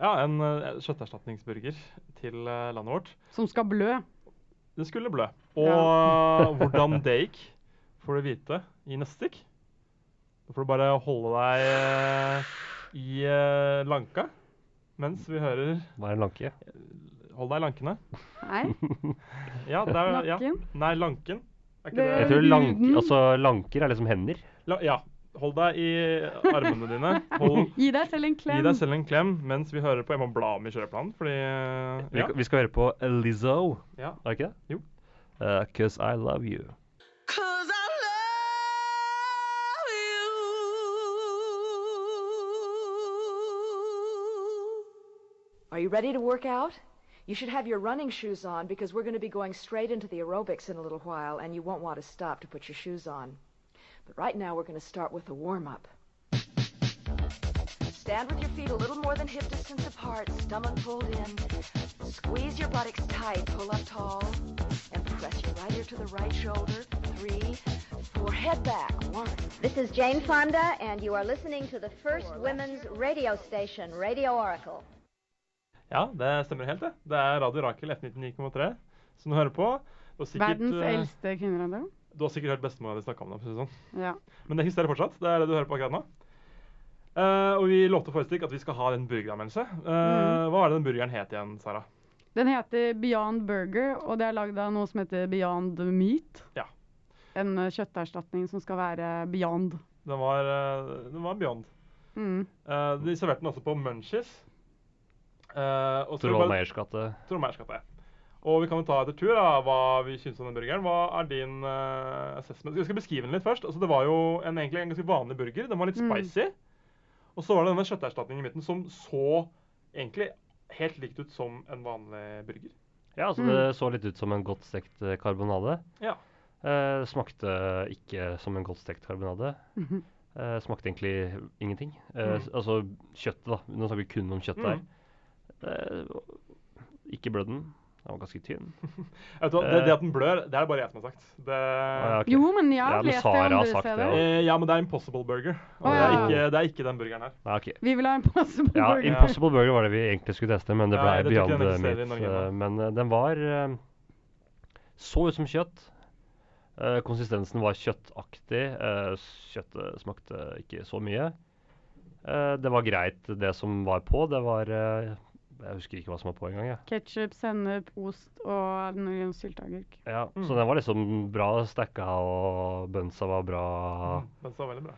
Speaker 3: Ja, en eh, kjøtterstatningsburger til eh, landet vårt.
Speaker 5: Som skal blø.
Speaker 3: Det skulle blø. Og
Speaker 5: Ja.
Speaker 3: hvordan det gikk, får du vite i neste stikk. Da får du bare holde deg eh, i eh, lanka mens vi hører
Speaker 4: Hva er en lanke?
Speaker 3: Hold deg i lankene.
Speaker 5: Nei,
Speaker 3: Ja, det er, ja.
Speaker 5: Nakken?
Speaker 3: Nei, lanken. Er ikke
Speaker 5: Det-
Speaker 3: det,
Speaker 4: Jeg tror lank,
Speaker 5: huden.
Speaker 4: altså, lanker er liksom hender.
Speaker 3: La, Ja. Hold deg i armene dine. Hold,
Speaker 5: gi deg selv en
Speaker 3: gi
Speaker 5: klem.
Speaker 3: deg selv en klem mens vi hører på. Jeg må bla om i kjøreplanen, fordi eh,
Speaker 4: Vi,
Speaker 3: ja.
Speaker 4: vi skal høre på Lizzo,
Speaker 3: Ja.
Speaker 4: er det ikke det?
Speaker 3: Jo.
Speaker 4: Eh, 'Cause I love you'.
Speaker 7: Cause I love you.
Speaker 8: Are you ready to work out? You should have your running shoes on because we're going to be going straight into the aerobics in a little while and you won't want to stop to put your shoes on. But right now we're going to start with a warm up. Stand with your feet a little more than hip distance apart, stomach pulled in. Squeeze your buttocks tight, pull up tall, and press your right ear to the right shoulder. Three, four, head back. One.
Speaker 9: This is Jane Fonda, and you are listening to the first women's radio station, Radio Oracle.
Speaker 3: ja, det stemmer helt, det. Det er Radio Rakel F99,3 som du hører på. Og sikkert,
Speaker 5: Verdens
Speaker 3: eh,
Speaker 5: eldste kvinneradel.
Speaker 3: Du har sikkert hørt bestemora di snakke om det. for å si det sånn.
Speaker 5: Ja.
Speaker 3: Men det eksisterer fortsatt. Det er det du hører på akkurat nå. Eh, og vi lovte forrige stikk at vi skal ha en burgeranmeldelse. Eh,
Speaker 4: Mm.
Speaker 3: Hva er det den burgeren het igjen, Sara?
Speaker 5: Den heter Beyond Burger, og det er lagd av noe som heter Beyond Meat.
Speaker 3: Ja.
Speaker 5: En eh, kjøtterstatning som skal være beyond.
Speaker 3: Den var, eh, den var Beyond.
Speaker 5: Mm.
Speaker 3: Eh, de serverte den også på Munchies. Eh, og så
Speaker 4: Troll
Speaker 3: bare-
Speaker 4: Meyers gate.
Speaker 3: Trondheimsgata. Og vi kan jo ta etter tur da, hva vi syns om den burgeren. Hva er din eh, assessment? Jeg skal beskrive den litt først. Altså, det var jo en, egentlig en ganske vanlig burger. Den var litt
Speaker 5: Mm.
Speaker 3: spicy. Og så var det denne kjøtterstatningen i midten som så egentlig helt likt ut som en vanlig burger.
Speaker 4: Ja, altså det så litt ut som en godt stekt eh, karbonade.
Speaker 3: Mm. Ja.
Speaker 4: Eh, smakte ikke som en godt stekt karbonade.
Speaker 3: Mhm.
Speaker 4: Eh, smakte egentlig ingenting. Eh, s- Altså kjøttet, da. Nå snakker vi kun om kjøttet her.
Speaker 3: Mm.
Speaker 4: Eh, ikke blød den. Den var ganske tynn.
Speaker 3: Vet du hva, det, det at den blør, det er det bare jeg som har sagt. Det,
Speaker 4: Ah, ja, ok.
Speaker 5: Jo, men jeg har
Speaker 4: Ja, men
Speaker 5: lest
Speaker 4: Sara
Speaker 5: det
Speaker 4: har
Speaker 5: andre
Speaker 4: sagt det
Speaker 5: steder.
Speaker 4: også.
Speaker 3: Eh, ja, men det er Impossible Burger. Og
Speaker 5: Å,
Speaker 3: det, er
Speaker 5: ja.
Speaker 3: ikke, det er ikke den burgeren her.
Speaker 4: Nei, Ah, ok.
Speaker 5: Vi vil ha en Possible
Speaker 4: Ja,
Speaker 5: Burger.
Speaker 4: Impossible Burger var det vi egentlig skulle teste, men det
Speaker 3: Ja,
Speaker 4: ble
Speaker 3: jeg tror ikke
Speaker 4: Beyond
Speaker 3: den
Speaker 4: eh,
Speaker 3: eksisterer i
Speaker 4: Meat.
Speaker 3: Norge nå.
Speaker 4: eh, Men eh, den var eh, Så ut som kjøtt. Eh, Konsistensen var kjøttaktig. eh, Kjøttet smakte ikke så mye. Eh, Det var greit, det som var på. Det var eh, Jeg husker ikke hva som var på engang. jeg.
Speaker 5: Ketchup, sennep, ost og noen sylteagurk.
Speaker 4: Ja,
Speaker 3: Mm.
Speaker 4: Så den var liksom bra stacka, og bunsa var bra.
Speaker 3: Den så veldig bra.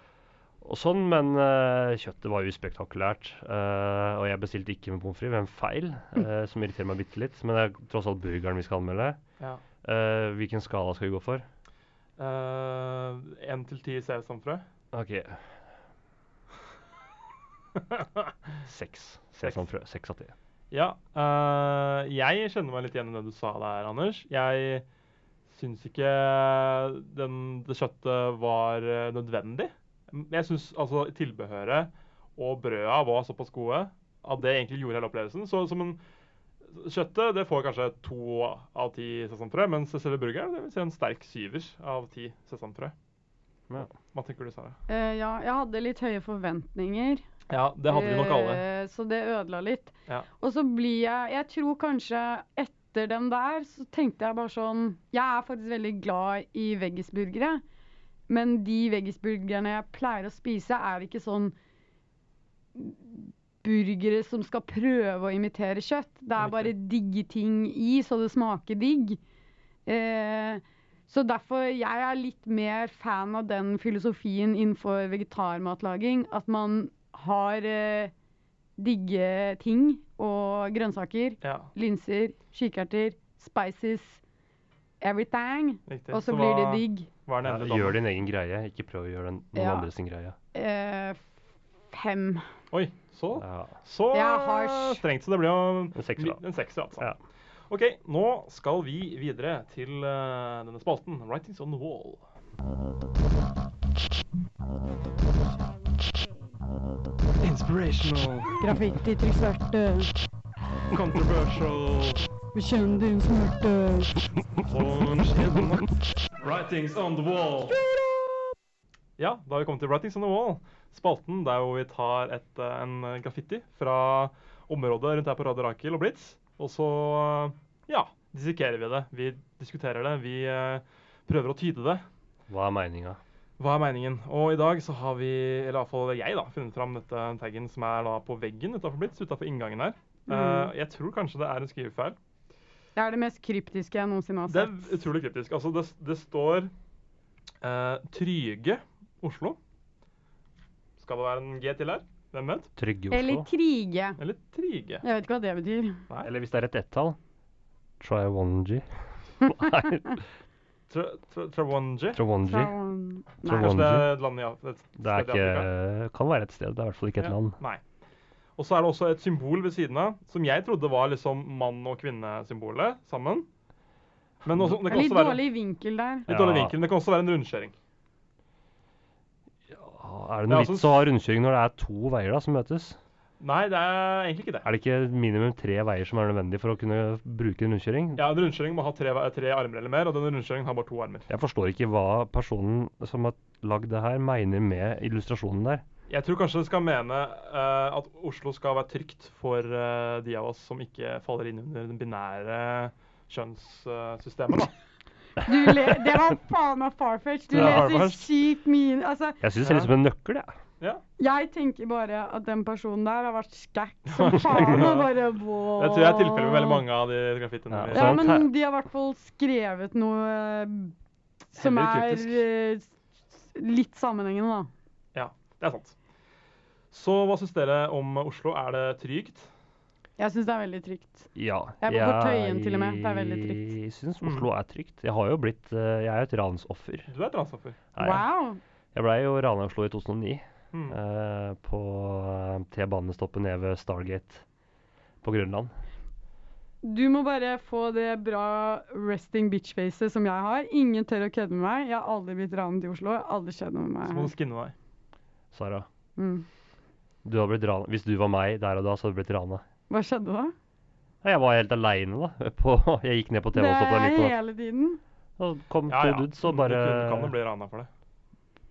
Speaker 4: og sånn, men eh, kjøttet var uspektakulært. eh, og jeg bestilte ikke med pommes frites, ved en feil, eh, som irriterer meg bitte litt. Men det er tross alt burgeren vi skal anmelde.
Speaker 3: Ja.
Speaker 4: Eh, hvilken skala skal vi gå for?
Speaker 3: Eh, En til ti sesamfrø.
Speaker 4: OK. Seks. Sesamfrø. Seks av ti.
Speaker 3: Ja. øh, jeg kjenner meg litt igjen i det du sa der, Anders. Jeg syns ikke den, det kjøttet var øh, nødvendig. Men Jeg syns altså tilbehøret og brøda var såpass gode at det egentlig gjorde hele opplevelsen. Så som en Kjøttet det får kanskje to av ti sesamfrø, mens selve burgeren det vil si en sterk syver av ti sesamfrø.
Speaker 4: Ja.
Speaker 3: Hva tenker du, Sara?
Speaker 5: Eh, ja, jeg hadde litt høye forventninger.
Speaker 3: Ja, det hadde vi nok alle.
Speaker 5: Eh, Så det ødela litt.
Speaker 3: Ja.
Speaker 5: Og så blir jeg Jeg tror kanskje etter den der, så tenkte jeg bare sånn Jeg er faktisk veldig glad i veggisburgere, men de veggisburgerne jeg pleier å spise, er ikke sånn burgere som skal prøve å imitere kjøtt. Det er bare digge ting i, så det smaker digg. Eh, så derfor jeg er litt mer fan av den filosofien innenfor vegetarmatlaging. At man har eh, digge ting og grønnsaker.
Speaker 3: Ja,
Speaker 5: Linser, kikerter, spices, everything.
Speaker 3: riktig.
Speaker 5: Og så blir det
Speaker 3: hva-
Speaker 5: digg.
Speaker 3: hva er den
Speaker 4: Ja,
Speaker 3: ene dommen?
Speaker 4: gjør din egen greie, ikke prøv å gjøre den, noen
Speaker 5: Ja.
Speaker 4: andre sin greie.
Speaker 5: Eh, fem.
Speaker 3: Oi, så
Speaker 4: Ja.
Speaker 3: Så
Speaker 5: Det er harsh.
Speaker 3: strengt, så det blir jo
Speaker 4: En sekser, da.
Speaker 3: En sekser, altså.
Speaker 4: Ja.
Speaker 3: OK, nå skal vi videre til eh, denne spalten, 'Writings on the Wall'. Inspirational,
Speaker 5: Graffiti til svarte,
Speaker 3: controversial,
Speaker 5: bekjenn din smerte.
Speaker 3: orange Writings on the Wall. Ja, da har vi kommet til Writings on the Wall. Spalten der hvor vi tar et, eh, en graffiti fra området rundt her på Radio Rakel og Blitz. Og så eh, ja, dissekerer vi det. Vi diskuterer det. Vi eh, prøver å tyde det.
Speaker 4: Hva er meninga?
Speaker 3: Hva er meningen? Og i dag så har vi, eller iallfall jeg, da, funnet fram dette taggen som er da på veggen utafor Blitz, utafor inngangen her. Eh, jeg tror kanskje det er en skrivefeil.
Speaker 5: Det er det mest kryptiske jeg noensinne har
Speaker 3: Det
Speaker 5: sett.
Speaker 3: er utrolig kryptisk. Altså, det, det står eh, Tryge Oslo. Skal det være en G til her? Hvem vet?
Speaker 4: Trygge
Speaker 5: Eller
Speaker 4: Oslo?
Speaker 5: krige.
Speaker 3: Eller Trige.
Speaker 5: Jeg vet ikke hva det betyr.
Speaker 4: Eller, hvis det er et ett-tall Try one G. Nei,
Speaker 3: Tra- tra- Trawangi.
Speaker 4: try one G.
Speaker 5: Fra,
Speaker 4: Fra
Speaker 5: nei.
Speaker 4: Wall-
Speaker 3: Kanskje det er et land i Af- et sted
Speaker 4: Det er
Speaker 3: i Afrika?
Speaker 4: ikke Kan være et sted, det er i hvert fall ikke et
Speaker 3: Ja,
Speaker 4: land.
Speaker 3: Nei. Og så er det også et symbol ved siden av, som jeg trodde var liksom mann- og kvinnesymbolet sammen. Men også, det
Speaker 5: Det
Speaker 3: kan
Speaker 5: er litt
Speaker 3: også være
Speaker 5: dårlig vinkel der.
Speaker 3: litt dårlig
Speaker 4: Ja.
Speaker 3: vinkel. men Det kan også være en rundkjøring.
Speaker 4: Ah,
Speaker 3: Det
Speaker 4: Er det
Speaker 3: er
Speaker 4: noe
Speaker 3: altså-
Speaker 4: vits å ha rundkjøring når det er to veier da som møtes?
Speaker 3: Nei, det er egentlig ikke det.
Speaker 4: Er det ikke minimum tre veier som er nødvendig for å kunne bruke en rundkjøring?
Speaker 3: Ja, En rundkjøring må ha tre, tre armer eller mer, og denne rundkjøringen har bare to armer.
Speaker 4: Jeg forstår ikke hva personen som har lagd det her, mener med illustrasjonen der.
Speaker 3: Jeg tror kanskje det skal mene eh, at Oslo skal være trygt for eh, de av oss som ikke faller inn under den binære kjønnssystemet, da.
Speaker 5: Du le det var faen meg farfetch. Du
Speaker 3: Det er
Speaker 5: leser
Speaker 3: farfetch.
Speaker 5: sykt mye Altså,
Speaker 4: Jeg syns det ser ut som en nøkkel, jeg.
Speaker 5: jeg tenker bare at den personen der har vært skækk som faen. Og bare wow.
Speaker 3: Det tror jeg er tilfellet med veldig mange av de graffitiene.
Speaker 4: Ja,
Speaker 3: vi-
Speaker 5: Ja,
Speaker 4: Sånn
Speaker 5: men
Speaker 4: her.
Speaker 5: de har i hvert fall skrevet noe eh, som
Speaker 3: Heller
Speaker 5: er
Speaker 3: kryptisk.
Speaker 5: eh, s- litt sammenhengende, da.
Speaker 3: Det er sant. Så hva syns dere om Oslo? Er det trygt?
Speaker 5: Jeg syns det er veldig trygt.
Speaker 4: Ja.
Speaker 5: Jeg bor på Tøyen til og med. Det er veldig trygt.
Speaker 4: Jeg syns
Speaker 3: Mm.
Speaker 4: Oslo er trygt. Jeg har jo blitt eh, Jeg er jo et ransoffer.
Speaker 3: Du er et ransoffer.
Speaker 4: er jeg.
Speaker 5: Wow!
Speaker 4: Jeg blei jo rana i Oslo i 2009.
Speaker 3: Mm.
Speaker 4: eh, på eh, T-banestoppet nede ved Stargate på Grønland.
Speaker 5: Du må bare få det bra resting bitch-facet som jeg har. Ingen tør å kødde med meg. Jeg har aldri blitt ranet i Oslo. Jeg har aldri skjedd noe
Speaker 3: Så
Speaker 5: med
Speaker 3: må
Speaker 5: meg.
Speaker 3: du skinne deg.
Speaker 4: Sara,
Speaker 5: Mm.
Speaker 4: du har blitt rana. Hvis du var meg der og da, så hadde du blitt rana.
Speaker 5: Hva skjedde da?
Speaker 4: Nei, Jeg var helt aleine, da. På, jeg gikk ned på
Speaker 5: Det
Speaker 4: T-banestoppet der
Speaker 5: er
Speaker 4: midt på
Speaker 5: jeg hele tiden.
Speaker 4: natta. Og kom
Speaker 3: Ja, ja.
Speaker 4: to dudes og
Speaker 3: Du
Speaker 4: bare,
Speaker 3: kunne- kan jo bli rana for det.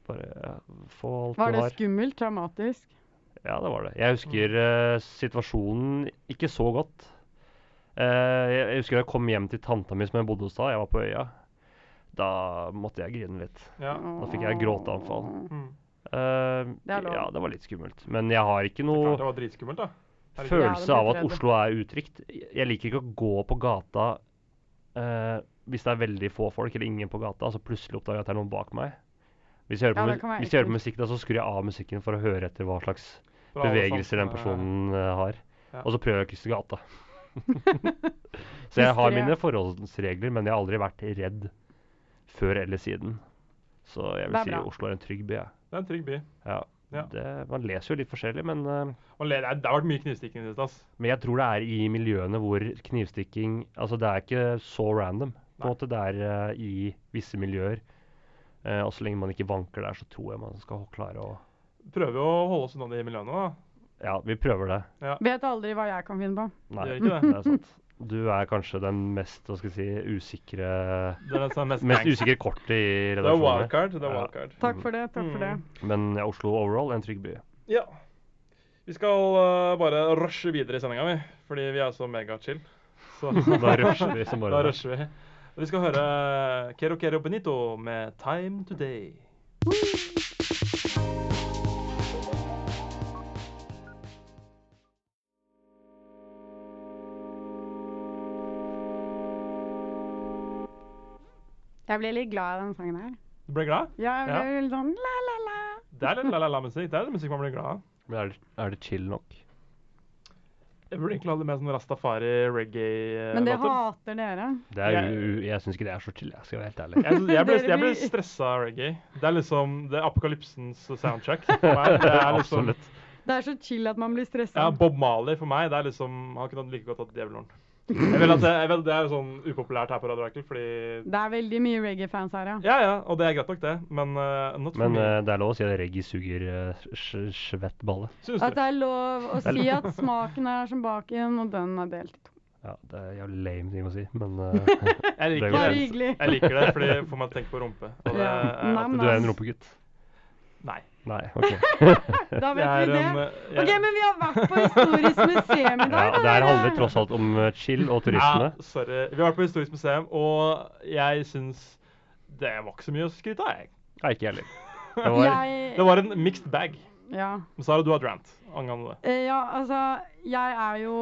Speaker 4: bare ja, Få alt du
Speaker 5: Var det
Speaker 4: har.
Speaker 5: skummelt? Traumatisk?
Speaker 4: Ja, det var det. Jeg husker
Speaker 5: Mm.
Speaker 4: eh, situasjonen ikke så godt. Eh, jeg, jeg husker jeg kom hjem til tanta mi som jeg bodde hos da. Jeg var på øya. Da måtte jeg grine litt.
Speaker 3: Ja.
Speaker 4: Da fikk jeg gråteanfall.
Speaker 3: Mm.
Speaker 4: Eh,
Speaker 5: Det er lov.
Speaker 4: ja, det var litt skummelt. Men jeg har
Speaker 3: Klart
Speaker 4: ikke
Speaker 3: det
Speaker 4: noe
Speaker 3: var dritskummelt, da. Herregud.
Speaker 5: Føl- Ja, det
Speaker 4: følelse av
Speaker 5: blir
Speaker 4: at
Speaker 5: tredje.
Speaker 4: Oslo er utrygt. Jeg liker ikke å gå på gata eh, hvis det er veldig få folk eller ingen på gata, og så plutselig oppdager jeg at det er noen bak meg. Hvis jeg hører på,
Speaker 5: Ja, det
Speaker 4: mu-
Speaker 5: kan være
Speaker 4: hvis jeg hører på
Speaker 5: ekkelt.
Speaker 4: musikk, da, så skrur jeg av musikken for å høre etter hva slags
Speaker 3: Bra, alle
Speaker 4: bevegelser den
Speaker 3: sammen, eh,
Speaker 4: personen eh, har.
Speaker 3: ja.
Speaker 4: Og så prøver jeg å krysse gata. så jeg har
Speaker 5: Hysteri-
Speaker 4: mine forholdsregler, men jeg har aldri vært redd før eller siden. Så jeg vil
Speaker 5: Det er
Speaker 4: si
Speaker 5: bra.
Speaker 4: Oslo er en trygg by. jeg.
Speaker 3: Det er en trygg by.
Speaker 4: Ja.
Speaker 3: Ja.
Speaker 4: Det, man leser jo litt forskjellig, men, eh,
Speaker 3: Og le- det er- det har vært mye knivstikking i det siste. ass.
Speaker 4: men jeg tror det er i miljøene hvor knivstikking Altså, det er ikke så random. På en
Speaker 3: Nei.
Speaker 4: måte Det er eh, i visse miljøer. Eh, og så lenge man ikke vanker der, så tror jeg man skal klare å
Speaker 3: Prøver jo å holde oss unna de miljøene, da.
Speaker 4: Ja, vi prøver det.
Speaker 5: Vet aldri hva jeg kan finne på.
Speaker 4: Nei,
Speaker 3: Gjør ikke det.
Speaker 4: er sant. Du er kanskje den mest hva skal jeg si, usikre
Speaker 3: Det er den som er mest,
Speaker 4: Mest
Speaker 3: gangster.
Speaker 4: usikre kortet i
Speaker 3: Det er
Speaker 4: redaksjonen. her.
Speaker 3: wildcard. Det er
Speaker 4: Ja.
Speaker 3: wildcard. Hmm.
Speaker 5: Takk for det. Takk for det.
Speaker 3: Mm.
Speaker 4: Men ja, Oslo overall er en trygg by.
Speaker 3: Ja. Vi skal eh, bare rushe videre i sendinga, vi. Fordi vi er så megachill. Så
Speaker 4: Da rusher vi som
Speaker 3: da
Speaker 4: bare det.
Speaker 3: rusher vi. Og vi skal høre Kero Kero Benito med 'Time Today'.
Speaker 5: Jeg ble litt glad i den sangen her.
Speaker 3: Du ble glad?
Speaker 5: Ja, jeg ble
Speaker 3: Ja.
Speaker 5: veldig sånn la, la, la.
Speaker 3: Det er litt la-la-la-musikk. Det er litt musikk man blir glad av.
Speaker 4: Men er det, er det chill nok?
Speaker 3: Jeg burde egentlig hatt det med sånn
Speaker 5: Men det
Speaker 3: rastafari-reggae-låter.
Speaker 5: hater dere.
Speaker 4: Det er,
Speaker 3: Jeg-
Speaker 4: u- u- jeg syns ikke det er så chill, jeg skal være helt ærlig.
Speaker 3: Jeg, synes- jeg, ble,
Speaker 5: Dere
Speaker 3: jeg ble
Speaker 5: blir-
Speaker 3: stressa av reggae. Det er liksom det er apokalypsens soundtrack. For meg. Det er liksom,
Speaker 4: Absolutt.
Speaker 5: Det er så chill at man blir stressa.
Speaker 3: ja, Bob Marley for meg, det er liksom Han kunne like godt hatt Djevelhorn. Jeg vet at det, jeg vet, det er jo sånn upopulært her på Radio Rakel, fordi
Speaker 5: Det er veldig mye reggae-fans her, ja.
Speaker 3: Ja, ja, og det er greit nok, det, men uh, not for
Speaker 4: Men
Speaker 3: me.
Speaker 4: eh, det er lov å si at reggae suger eh, sj- svett balle.
Speaker 3: Syns
Speaker 5: At
Speaker 3: du?
Speaker 5: det er lov å si at smaken er som baken, og den er delt i to.
Speaker 4: Ja, det er jævlig lame ting å si, men eh,
Speaker 3: Jeg
Speaker 4: det er
Speaker 3: liker
Speaker 4: jo
Speaker 5: Bare
Speaker 4: sant.
Speaker 3: det.
Speaker 5: hyggelig.
Speaker 3: Jeg liker det, fordi det får meg til å tenke på rumpe. Og det
Speaker 5: Ja.
Speaker 3: er
Speaker 5: Nam,
Speaker 4: du er en rumpegutt.
Speaker 3: Nei.
Speaker 4: Nei, OK.
Speaker 5: Da
Speaker 3: Jeg
Speaker 5: vet
Speaker 3: er
Speaker 5: vi
Speaker 3: en,
Speaker 5: det.
Speaker 3: eh,
Speaker 5: OK,
Speaker 3: jeg-
Speaker 5: men vi har vært på Historisk museum i
Speaker 4: Ja,
Speaker 5: dag. da,
Speaker 4: det her
Speaker 5: dere.
Speaker 4: handler tross alt om eh, chill og turisme.
Speaker 3: Ja, sorry. Vi har vært på Historisk museum, og jeg syns det var ikke så mye å skryte av, jeg.
Speaker 4: Nei, ikke jeg heller. Det var
Speaker 3: Det
Speaker 5: Jeg,
Speaker 3: var en mixed bag.
Speaker 5: ja.
Speaker 3: Men Sara, du har drant angående det.
Speaker 5: Eh, ja, altså, jeg er jo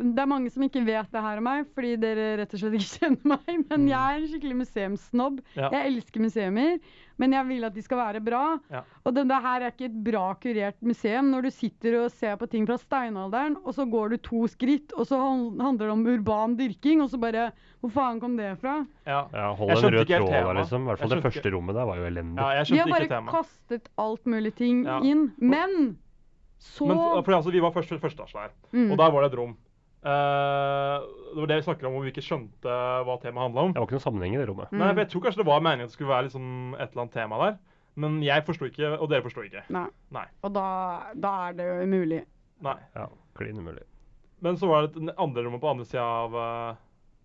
Speaker 5: Det er mange som ikke vet det her om meg, fordi dere rett og slett ikke kjenner meg. Men
Speaker 3: Mm.
Speaker 5: jeg er en skikkelig museumssnobb.
Speaker 3: Ja.
Speaker 5: Jeg elsker museumer, men jeg vil at de skal være bra.
Speaker 3: Ja.
Speaker 5: Og denne her er ikke et bra kurert museum. Når du sitter og ser på ting fra steinalderen, og så går du to skritt, og så han- handler det om urban dyrking, og så bare Hvor faen kom det fra?
Speaker 3: Ja.
Speaker 4: ja, Hold
Speaker 3: Jeg
Speaker 4: en
Speaker 3: skjønte
Speaker 4: rød
Speaker 3: ikke helt
Speaker 4: tråd der,
Speaker 3: tema.
Speaker 4: liksom. I hvert fall
Speaker 3: Jeg skjønte
Speaker 4: det første rommet der var jo elendig.
Speaker 3: ja, jeg
Speaker 5: De har
Speaker 3: skjønte
Speaker 5: bare
Speaker 3: ikke temaet.
Speaker 5: kastet alt mulig ting
Speaker 3: Ja.
Speaker 5: inn. Men så
Speaker 3: Men for, for altså, vi var først førsteetasje der,
Speaker 5: Mm.
Speaker 3: og der var det et rom. Eh, det var det vi snakker om, hvor vi ikke skjønte hva temaet handla om.
Speaker 4: Det var ikke noen sammenheng i det
Speaker 5: Mm.
Speaker 4: rommet.
Speaker 3: Nei, for Jeg tror kanskje det var meningen at det skulle være liksom et eller annet tema der, men jeg forsto ikke, og dere forsto ikke.
Speaker 5: Nei.
Speaker 3: Nei.
Speaker 5: Og da, da er det jo umulig.
Speaker 3: Nei.
Speaker 4: Ja, Klin umulig.
Speaker 3: Men så var det et andre rommet på andre sida av eh,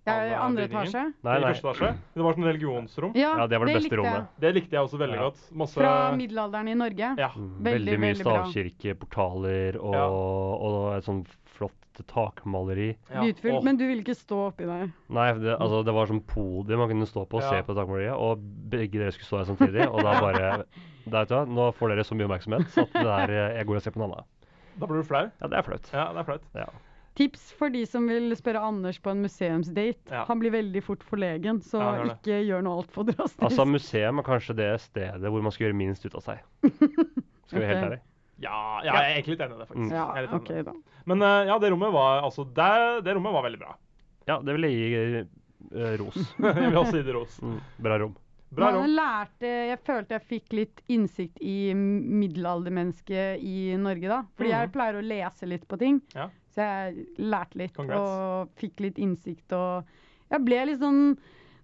Speaker 5: Jeg er i
Speaker 3: Alle
Speaker 5: andre
Speaker 3: bygninger.
Speaker 5: etasje.
Speaker 4: Nei,
Speaker 3: i
Speaker 4: nei.
Speaker 3: første etasje. Det var sånn religionsrom.
Speaker 5: Ja,
Speaker 4: Ja, det var det, beste
Speaker 5: likte jeg.
Speaker 4: rommet.
Speaker 3: Det likte jeg også veldig
Speaker 4: Ja.
Speaker 3: godt. Masse
Speaker 5: Fra middelalderen i Norge.
Speaker 3: Ja.
Speaker 4: Mm,
Speaker 5: Veldig,
Speaker 4: Veldig mye
Speaker 5: veldig bra.
Speaker 4: stavkirkeportaler og,
Speaker 3: Ja.
Speaker 4: og et sånn flott takmaleri.
Speaker 3: ja.
Speaker 5: Beautiful.
Speaker 3: Åh,
Speaker 5: Men du vil ikke stå oppi der.
Speaker 4: Nei, det, altså, det var sånn podium man kunne stå på og
Speaker 3: Mm. Ja.
Speaker 4: se på takmaleriet, og begge dere skulle stå her samtidig. Og da bare da, vet du, hva, Nå får dere så mye oppmerksomhet så at det der, eh, jeg går og ser på en annen.
Speaker 3: Da blir du flau.
Speaker 4: Ja, det er flaut.
Speaker 3: Ja, det er flaut.
Speaker 4: Ja.
Speaker 5: Tips for de som vil spørre Anders på en museumsdate.
Speaker 3: Ja.
Speaker 5: Han blir veldig fort forlegen, så
Speaker 3: Ja, han gjør det.
Speaker 5: ikke gjør noe altfor drastisk.
Speaker 4: Altså, museum er kanskje det stedet hvor man skal gjøre minst ut av seg. Skal vi være helt
Speaker 5: Ok.
Speaker 4: ærlig.
Speaker 3: Ja, ja, jeg er egentlig litt enig i det, faktisk.
Speaker 5: Mm. ja,
Speaker 3: Jeg er litt enig i
Speaker 5: OK,
Speaker 3: det.
Speaker 5: da.
Speaker 3: Men eh, ja, det rommet var altså Det, det rommet var veldig bra.
Speaker 4: Ja, det vil jeg gi eh, ros.
Speaker 3: Jeg vil også gi det ros.
Speaker 4: Mm, bra rom.
Speaker 3: Bra
Speaker 5: Man
Speaker 3: rom.
Speaker 5: lærte, jeg følte jeg fikk litt innsikt i middelaldermennesket i Norge, da. Fordi jeg
Speaker 3: Mhm.
Speaker 5: pleier å lese litt på ting.
Speaker 3: Ja.
Speaker 5: Så jeg lærte litt
Speaker 3: Congrats.
Speaker 5: og fikk litt innsikt og Jeg ble litt sånn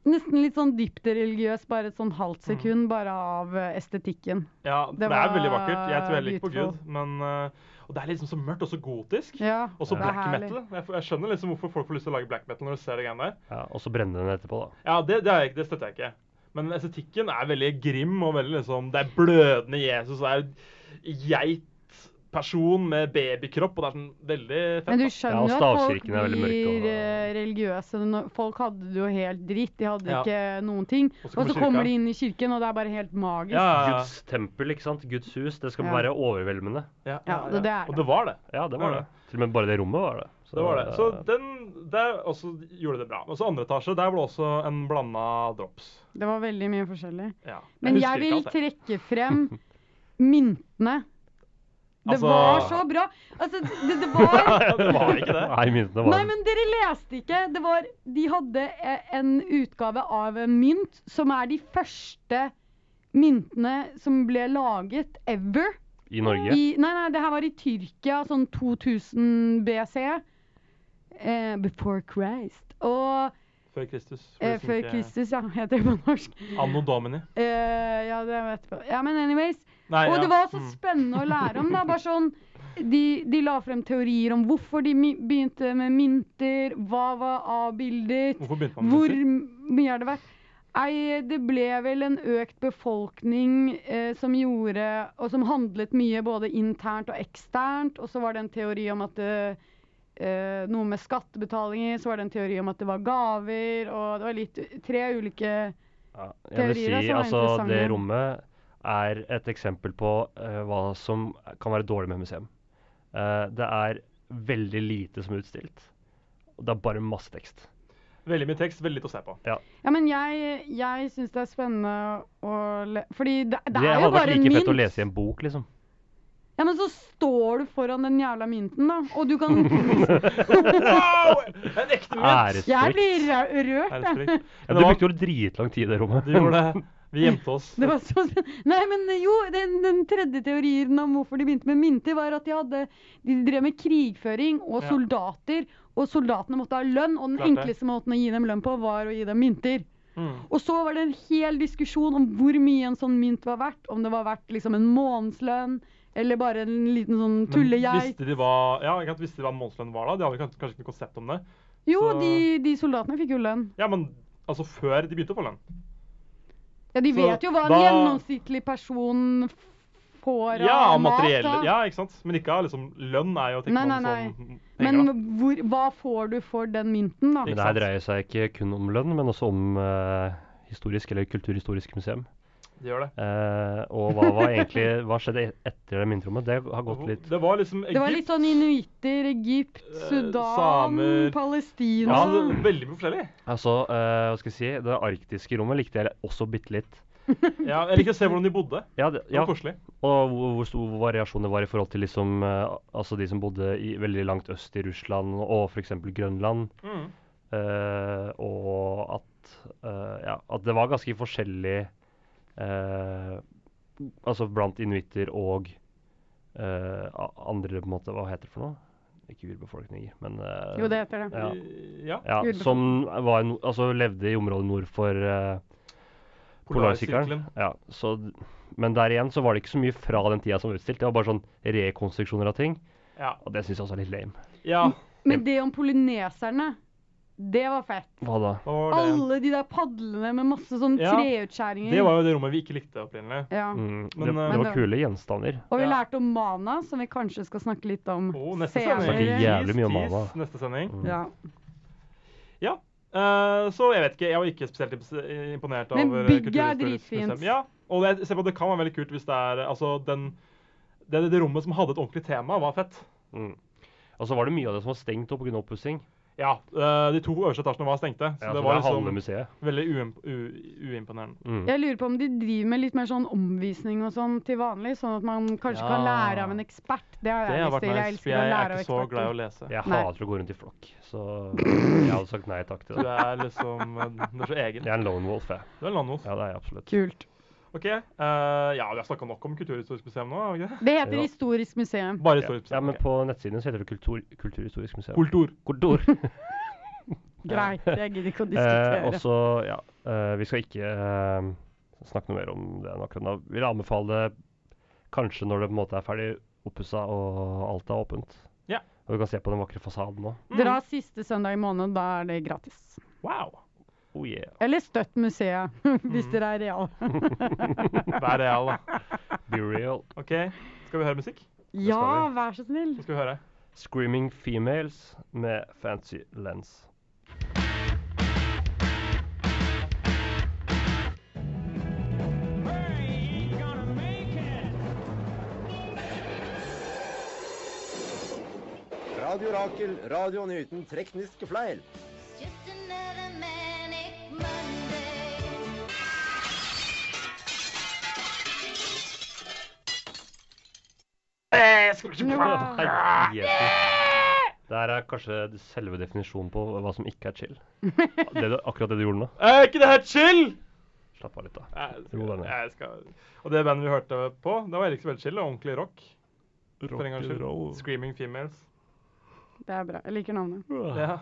Speaker 5: Nesten litt sånn dypt religiøs, bare et sånn halvt
Speaker 3: Mm.
Speaker 5: sekund, bare av eh, estetikken.
Speaker 3: Ja, det,
Speaker 5: Det
Speaker 3: er veldig
Speaker 5: var
Speaker 3: vakkert. Jeg tror heller ikke på
Speaker 5: beautiful.
Speaker 3: Gud, men eh, Og det er liksom så mørkt og så gotisk.
Speaker 5: Ja,
Speaker 3: Og så
Speaker 5: det er
Speaker 3: black
Speaker 5: herlig.
Speaker 3: metal. Jeg, jeg skjønner liksom hvorfor folk får lyst til å lage black metal når du ser det greiene der.
Speaker 4: Ja, og så brenne den etterpå, da.
Speaker 3: Ja, det, det, er jeg ikke, det støtter jeg ikke. Men estetikken er veldig grim og veldig liksom Det er blødende Jesus, det er geitperson med babykropp, og det er sånn veldig fett.
Speaker 5: Men
Speaker 3: da.
Speaker 4: Ja,
Speaker 5: du
Speaker 4: og
Speaker 5: skjønner jo at folk
Speaker 4: stavkirken er veldig mørk og-
Speaker 5: blir eh, religiøse. når- Folk hadde det jo helt dritt. De hadde
Speaker 3: Ja.
Speaker 5: ikke noen ting.
Speaker 3: Og så
Speaker 5: Og
Speaker 3: kommer
Speaker 5: så kommer
Speaker 3: kirka.
Speaker 5: de inn i kirken, og det er bare helt magisk.
Speaker 3: ja, ja,
Speaker 4: Guds tempel, ikke sant? Guds hus. Det skal
Speaker 5: Ja.
Speaker 4: være overveldende.
Speaker 3: ja,
Speaker 5: Ja, det- det er det.
Speaker 3: Og det var det.
Speaker 4: Ja, det var
Speaker 3: Ja.
Speaker 4: det. Til og med bare det rommet var det. eh,
Speaker 3: Det var det. Så den der også gjorde det bra. Og så andre etasje, der var det også en blanda drops.
Speaker 5: Det var veldig mye forskjellig.
Speaker 3: Ja.
Speaker 5: Men
Speaker 3: husker
Speaker 5: jeg vil
Speaker 3: ikke alt, jeg.
Speaker 5: trekke frem myntene. Det
Speaker 3: Altså-
Speaker 5: var så bra. Altså, det, det var
Speaker 3: Det var ikke det.
Speaker 4: Nei, myntene var
Speaker 5: Nei, men dere leste ikke. Det var, de hadde eh, en utgave av en mynt som er de første myntene som ble laget ever.
Speaker 4: i Norge.
Speaker 5: I, nei, nei, det her var i Tyrkia, sånn 2000 BC. Eh, before Christ. Og
Speaker 3: Før Kristus. for de
Speaker 5: eh,
Speaker 3: som
Speaker 5: før
Speaker 3: ikke-
Speaker 5: Kristus, ja, heter det på norsk.
Speaker 3: Anno domini.
Speaker 5: Eh, ja, det vet jeg. Ja, men anyways.
Speaker 3: Nei,
Speaker 5: Og
Speaker 3: ja.
Speaker 5: det var så
Speaker 3: Mm.
Speaker 5: spennende å lære om. da, bare sånn, de, de la frem teorier om hvorfor de mi- begynte med mynter, hva var avbildet,
Speaker 3: Hvorfor begynte man
Speaker 5: hvor
Speaker 3: med mynter?
Speaker 5: m- mye er det verdt. Nei, det ble vel en økt befolkning eh, som gjorde Og som handlet mye både internt og eksternt. Og så var det en teori om at det, eh, Noe med skattebetalinger. Så var det en teori om at det var gaver. Og det var litt tre ulike
Speaker 4: Ja, jeg vil
Speaker 5: teorier, da,
Speaker 4: si
Speaker 5: som er sånn
Speaker 4: altså det
Speaker 5: interessante.
Speaker 4: rommet er et eksempel på eh, hva som kan være dårlig med museum. Eh, det er veldig lite som er utstilt. Og det er bare masse tekst.
Speaker 3: Veldig mye tekst, veldig lite å se på.
Speaker 5: Ja, men jeg, jeg syns det er spennende å le... Fordi det, det, er jo
Speaker 4: hadde vært
Speaker 5: bare en
Speaker 4: altså like
Speaker 5: mynt.
Speaker 4: fett å lese i en bok, liksom.
Speaker 5: Ja, men så står du foran den jævla mynten, da. Og du kan
Speaker 3: Wow! En ekte mynt!
Speaker 4: Æresfrykt.
Speaker 5: Jeg blir rø- rørt, jeg.
Speaker 3: Æresfrykt.
Speaker 4: Ja,
Speaker 3: Men det
Speaker 4: du
Speaker 3: var-
Speaker 4: brukte jo dritlang tid i det rommet.
Speaker 3: De gjorde det. Vi gjemte oss.
Speaker 5: Det var så spen- Nei, men jo, den, den tredje teorien om hvorfor de begynte med mynter, var at de, hadde, de drev med krigføring og
Speaker 3: Ja.
Speaker 5: soldater. Og soldatene måtte ha lønn, og den
Speaker 3: Klart det.
Speaker 5: enkleste måten å gi dem lønn på, var å gi dem mynter.
Speaker 3: Mm.
Speaker 5: Og så var det en hel diskusjon om hvor mye en sånn mynt var verdt. Om det var verdt liksom en månedslønn, eller bare en liten sånn
Speaker 3: Men
Speaker 5: tullegeit.
Speaker 3: Visste de hva, ja, ikke sant, visste de hva månedslønn var da? De hadde kanskje, kanskje ikke noe konsept om det.
Speaker 5: Jo,
Speaker 3: så-
Speaker 5: de, de soldatene fikk jo lønn.
Speaker 3: Ja, men altså før de begynte å få lønn.
Speaker 5: Ja, de
Speaker 3: Så
Speaker 5: vet jo hva en
Speaker 3: da-
Speaker 5: gjennomsnittlig person f- får av
Speaker 3: Ja,
Speaker 5: mat.
Speaker 3: materielle.
Speaker 5: da.
Speaker 3: Ja, ikke sant? Men ikke av liksom lønn er jo ting
Speaker 5: Nei,
Speaker 3: man
Speaker 5: nei,
Speaker 3: som
Speaker 5: Men
Speaker 3: sånn penger, da.
Speaker 5: hvor, hva får du for den mynten, da?
Speaker 3: Ikke
Speaker 4: Men det her
Speaker 3: sant?
Speaker 4: dreier seg ikke kun om lønn, men også om eh, historisk eller kulturhistorisk museum.
Speaker 3: De gjør det.
Speaker 4: Eh, og hva var egentlig Hva skjedde e- etter det mynterommet? Det har gått litt
Speaker 3: Det var liksom Egypt.
Speaker 5: Det var litt sånn inuitter, Egypt,
Speaker 3: eh,
Speaker 5: Sudan,
Speaker 3: samer.
Speaker 5: Palestina
Speaker 3: Ja, det var veldig mye forskjellig.
Speaker 4: Altså, eh, hva skal jeg si Det arktiske rommet likte jeg også bitte litt.
Speaker 3: Ja, jeg liker å se hvordan de bodde.
Speaker 4: Ja, det,
Speaker 3: Det
Speaker 4: ja,
Speaker 3: var koselig.
Speaker 4: og hvor, hvor stor variasjon det var i forhold til liksom eh, Altså de som bodde i, veldig langt øst i Russland og f.eks. Grønland.
Speaker 3: Mm.
Speaker 4: eh, og at eh, Ja, at det var ganske forskjellig eh, Altså blant inuitter og eh, a- andre på en måte Hva heter det for noe? Ikke urbefolkninger, men eh,
Speaker 5: Jo, det heter det.
Speaker 4: Ja.
Speaker 3: Ja.
Speaker 4: Ja,
Speaker 5: Urbefolkning.
Speaker 4: som var, no- altså, levde i området nord for eh, Polarsirkelen. Ja, så, d- men der igjen så var det ikke så mye fra den tida som var utstilt. Det var bare sånn rekonstruksjoner av ting.
Speaker 3: Ja.
Speaker 4: Og det syns jeg også er litt lame.
Speaker 3: ja.
Speaker 5: Men det om polineserne, det var fett.
Speaker 4: Hva da?
Speaker 3: Hva var det?
Speaker 5: Alle de der padlene med masse sånn
Speaker 3: Ja.
Speaker 5: treutskjæringer.
Speaker 3: Det var jo det rommet vi ikke likte opprinnelig.
Speaker 5: ja.
Speaker 4: Mm,
Speaker 3: Men, eh,
Speaker 4: det, det
Speaker 5: Men
Speaker 4: var kule gjenstander.
Speaker 5: Og vi
Speaker 3: Ja.
Speaker 5: lærte om mana, som vi kanskje skal snakke litt om
Speaker 3: Å, neste
Speaker 4: Snakker
Speaker 3: sending.
Speaker 4: Snakker jævlig mye om
Speaker 3: Tis,
Speaker 4: Mama.
Speaker 3: tis, Neste sending.
Speaker 4: Mm.
Speaker 5: Ja.
Speaker 3: Eh, så jeg vet ikke. Jeg var ikke spesielt impos- imponert
Speaker 5: Men
Speaker 3: over
Speaker 5: bygget er
Speaker 3: Kulturhistorisk
Speaker 5: dritfint.
Speaker 3: museum. Ja, og det, jeg ser på at det kan være veldig kult hvis det er Altså, den det, det, det rommet som hadde et ordentlig tema, var fett.
Speaker 4: Mm. Og så var det mye av det som var stengt opp pga. oppussing.
Speaker 3: Ja, eh, De to øverste etasjene var stengte, så
Speaker 4: Ja, altså,
Speaker 3: det var
Speaker 4: halve
Speaker 3: liksom
Speaker 4: museet.
Speaker 3: veldig uimp u uimponerende.
Speaker 4: Mm.
Speaker 5: Jeg lurer på om de driver med litt mer sånn omvisning og sånn til vanlig, sånn at man kanskje
Speaker 4: Ja.
Speaker 5: kan lære av en ekspert. Det har
Speaker 3: Det
Speaker 5: jeg
Speaker 3: har
Speaker 5: lyst
Speaker 3: vært
Speaker 5: til. Jeg
Speaker 3: nice, for
Speaker 5: elsker å
Speaker 3: jeg er
Speaker 5: lære av
Speaker 3: ikke så
Speaker 5: eksperter.
Speaker 3: glad i å lese.
Speaker 4: Jeg
Speaker 5: Nei.
Speaker 4: hater å gå rundt i flokk, så jeg hadde sagt nei takk til
Speaker 3: Du
Speaker 4: det.
Speaker 3: er liksom eh, Du er så egen.
Speaker 4: Jeg er en lone wolf, jeg.
Speaker 3: Du er landhos.
Speaker 4: Ja, det er jeg absolutt.
Speaker 5: Kult.
Speaker 3: OK. eh, ja, vi har snakka nok om Kulturhistorisk museum nå, har vi ikke det?
Speaker 5: Det heter
Speaker 4: Ja.
Speaker 5: Historisk museum.
Speaker 3: Bare
Speaker 4: Ja,
Speaker 3: historisk
Speaker 4: ja,
Speaker 3: museum.
Speaker 4: men
Speaker 3: ok.
Speaker 4: på nettsiden så heter det kultur, Kulturhistorisk museum.
Speaker 3: Kultur.
Speaker 4: Kultur.
Speaker 5: Greit, jeg gidder ikke å
Speaker 4: Eh,
Speaker 5: diskutere.
Speaker 4: også, ja, eh, vi skal ikke eh, snakke noe mer om det enn akkurat nå. Vil anbefale kanskje når det på en måte er ferdig oppussa og alt er åpent.
Speaker 3: Ja.
Speaker 4: Og du kan se på den vakre fasaden nå.
Speaker 5: Dra siste søndag i måneden, da er det gratis.
Speaker 3: Mm. Wow.
Speaker 4: Oh yeah.
Speaker 5: Eller støtt museet,
Speaker 3: Mm.
Speaker 5: hvis dere er reale.
Speaker 3: Vær real, da.
Speaker 4: Be real.
Speaker 3: OK, skal vi høre musikk?
Speaker 5: Ja, vær så snill.
Speaker 3: Hva skal vi høre?
Speaker 4: Screaming females med fancy lens.
Speaker 6: Radio Rakel, radioen uten tekniske fleil.
Speaker 3: Ah!
Speaker 4: Nei, Jesus. Det her er kanskje selve definisjonen på hva som ikke er chill. Det du, akkurat det du gjorde nå.
Speaker 3: Er ikke det her chill?
Speaker 4: Slapp av litt, da.
Speaker 3: Jeg
Speaker 4: Jo, den
Speaker 3: skal,
Speaker 4: er.
Speaker 3: jeg skal. Og det bandet vi hørte på, det var Erik så veldig chill. og Ordentlig rock. For en gangs skyld. Screaming Females.
Speaker 5: Det er bra. Jeg liker navnet.
Speaker 3: Ja.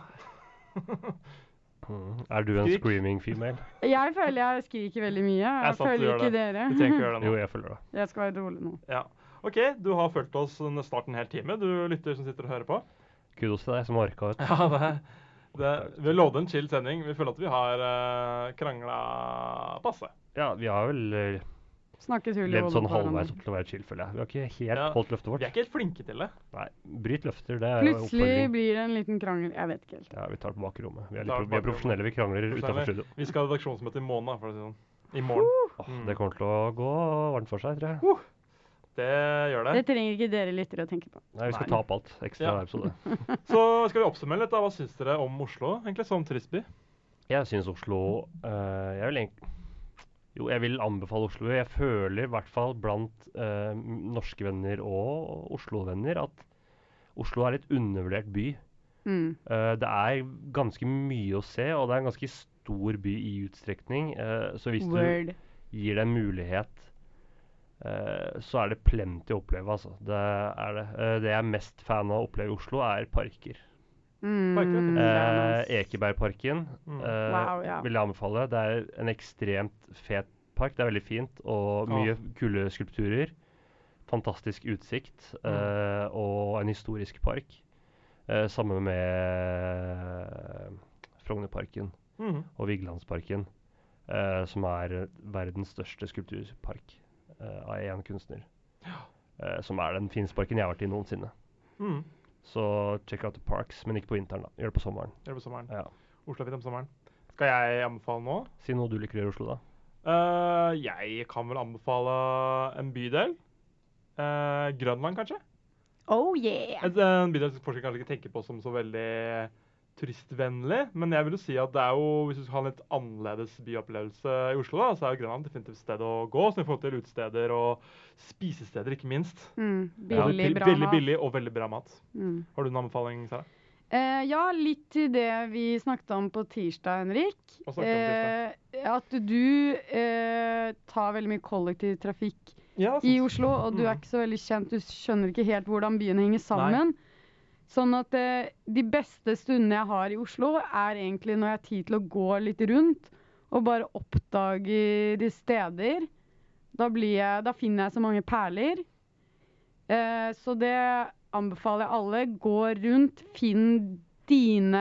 Speaker 4: Mm. Er du en
Speaker 3: Skrik.
Speaker 4: screaming female?
Speaker 5: Jeg føler jeg skriker veldig mye.
Speaker 3: Det er
Speaker 5: Jeg
Speaker 3: sant du
Speaker 5: føler
Speaker 3: gjør
Speaker 5: ikke
Speaker 3: det.
Speaker 5: dere.
Speaker 3: Vi trenger ikke gjøre
Speaker 4: Jo,
Speaker 3: det nå.
Speaker 4: jeg føler det.
Speaker 5: Jeg skal være rolig nå.
Speaker 3: Ja. OK, du har fulgt oss en- snart en hel time, du lytter som sitter og hører på.
Speaker 4: Kudos til deg som har orka ut.
Speaker 3: Ja, det, det, Vi lovde en chill sending. Vi føler at vi har uh, krangla passe.
Speaker 4: Ja, vi har vel eh,
Speaker 5: Snakket hull i
Speaker 4: levd
Speaker 5: hodet
Speaker 4: sånn
Speaker 5: på hverandre.
Speaker 4: halvveis opp til å være chill, føler jeg. Vi har ikke helt
Speaker 3: Ja.
Speaker 4: holdt løftet
Speaker 3: Vi
Speaker 4: vårt.
Speaker 3: er ikke helt flinke til det.
Speaker 4: Nei, bryt løfter, det er jo
Speaker 5: Plutselig
Speaker 4: oppfordring.
Speaker 5: blir det en liten krangel. Jeg vet ikke helt.
Speaker 4: Ja, vi tar det på bakrommet. Vi er, litt,
Speaker 3: Tar
Speaker 4: pro-
Speaker 3: det på
Speaker 4: vi er
Speaker 3: bakrommet.
Speaker 4: profesjonelle, vi krangler utafor studio.
Speaker 3: Vi skal ha redaksjonsmøte i måned, for å si det sånn. I morgen.
Speaker 4: Åh, det kommer til å gå varmt for seg, tror jeg.
Speaker 3: Det gjør
Speaker 5: Det
Speaker 3: det.
Speaker 5: trenger ikke dere lyttere å tenke på.
Speaker 4: Nei, vi skal
Speaker 3: Nei.
Speaker 4: ta opp alt. Ekstra
Speaker 3: Ja.
Speaker 4: episode.
Speaker 3: Så skal vi oppsummere litt. da. Hva syns dere om Oslo, egentlig, som turistby?
Speaker 4: Jeg syns Oslo eh, Jeg vil egentlig Jo, jeg vil anbefale Oslo. Jeg føler i hvert fall blant eh, m- norske venner og Oslo-venner at Oslo er litt undervurdert by.
Speaker 5: Mm.
Speaker 4: Eh, det er ganske mye å se, og det er en ganske stor by i utstrekning. eh, så hvis du
Speaker 5: Word.
Speaker 4: gir deg mulighet, eh, så er det plenty å oppleve, altså. Det er det. Eh, det jeg er mest fan av å oppleve i Oslo, er parker.
Speaker 5: Mm,
Speaker 3: Merker det.
Speaker 5: det
Speaker 4: Eh,
Speaker 5: er nice.
Speaker 4: Ekebergparken
Speaker 3: Mm.
Speaker 4: eh,
Speaker 5: Wow, ja.
Speaker 4: vil jeg anbefale. Det er en ekstremt fet park. Det er veldig fint og mye kule skulpturer. Fantastisk utsikt eh, og en historisk park. Eh, samme med Frognerparken
Speaker 3: Mhm.
Speaker 4: og Vigelandsparken, eh, som er verdens største skulpturpark eh, av én kunstner. Eh, som er den fineste parken jeg har vært i noensinne.
Speaker 3: Mhm.
Speaker 4: Så check out the parks, men ikke på vinteren. da. Gjør det på sommeren.
Speaker 3: Gjør det på sommeren.
Speaker 4: Ja.
Speaker 3: Oslo er fint om sommeren. Skal jeg anbefale nå?
Speaker 4: Si noe du liker i Oslo, da.
Speaker 3: Eh, jeg kan vel anbefale en bydel. Eh, Grønland, kanskje?
Speaker 5: Oh yeah!
Speaker 3: Et, en bydel som forskere kanskje ikke tenker på som så veldig turistvennlig. Men jeg vil jo si at det er jo, hvis du skal ha en litt annerledes byopplevelse i Oslo, da, så er jo Grønland definitivt et sted å gå. Sånn i forhold til utesteder og spisesteder, ikke minst.
Speaker 5: Mm,
Speaker 4: Ja,
Speaker 5: billig,
Speaker 3: Veldig-
Speaker 5: bra
Speaker 3: veldig
Speaker 5: mat.
Speaker 3: billig og veldig bra mat.
Speaker 5: Mm.
Speaker 3: Har du en anbefaling, Sara?
Speaker 5: Eh, ja, litt til det vi snakket om på tirsdag, Henrik.
Speaker 3: Hva snakket vi om tirsdag?
Speaker 5: Eh, at du eh, tar veldig mye kollektivtrafikk
Speaker 3: Ja,
Speaker 5: i Oslo, og du er
Speaker 3: Mhm.
Speaker 5: ikke så veldig kjent. Du skjønner ikke helt hvordan byen henger sammen. Sånn at eh, de beste stundene jeg har i Oslo, er egentlig når jeg har tid til å gå litt rundt og bare oppdage de steder. Da, blir jeg, da finner jeg så mange perler. Eh, så det anbefaler jeg alle. Gå rundt, finn dine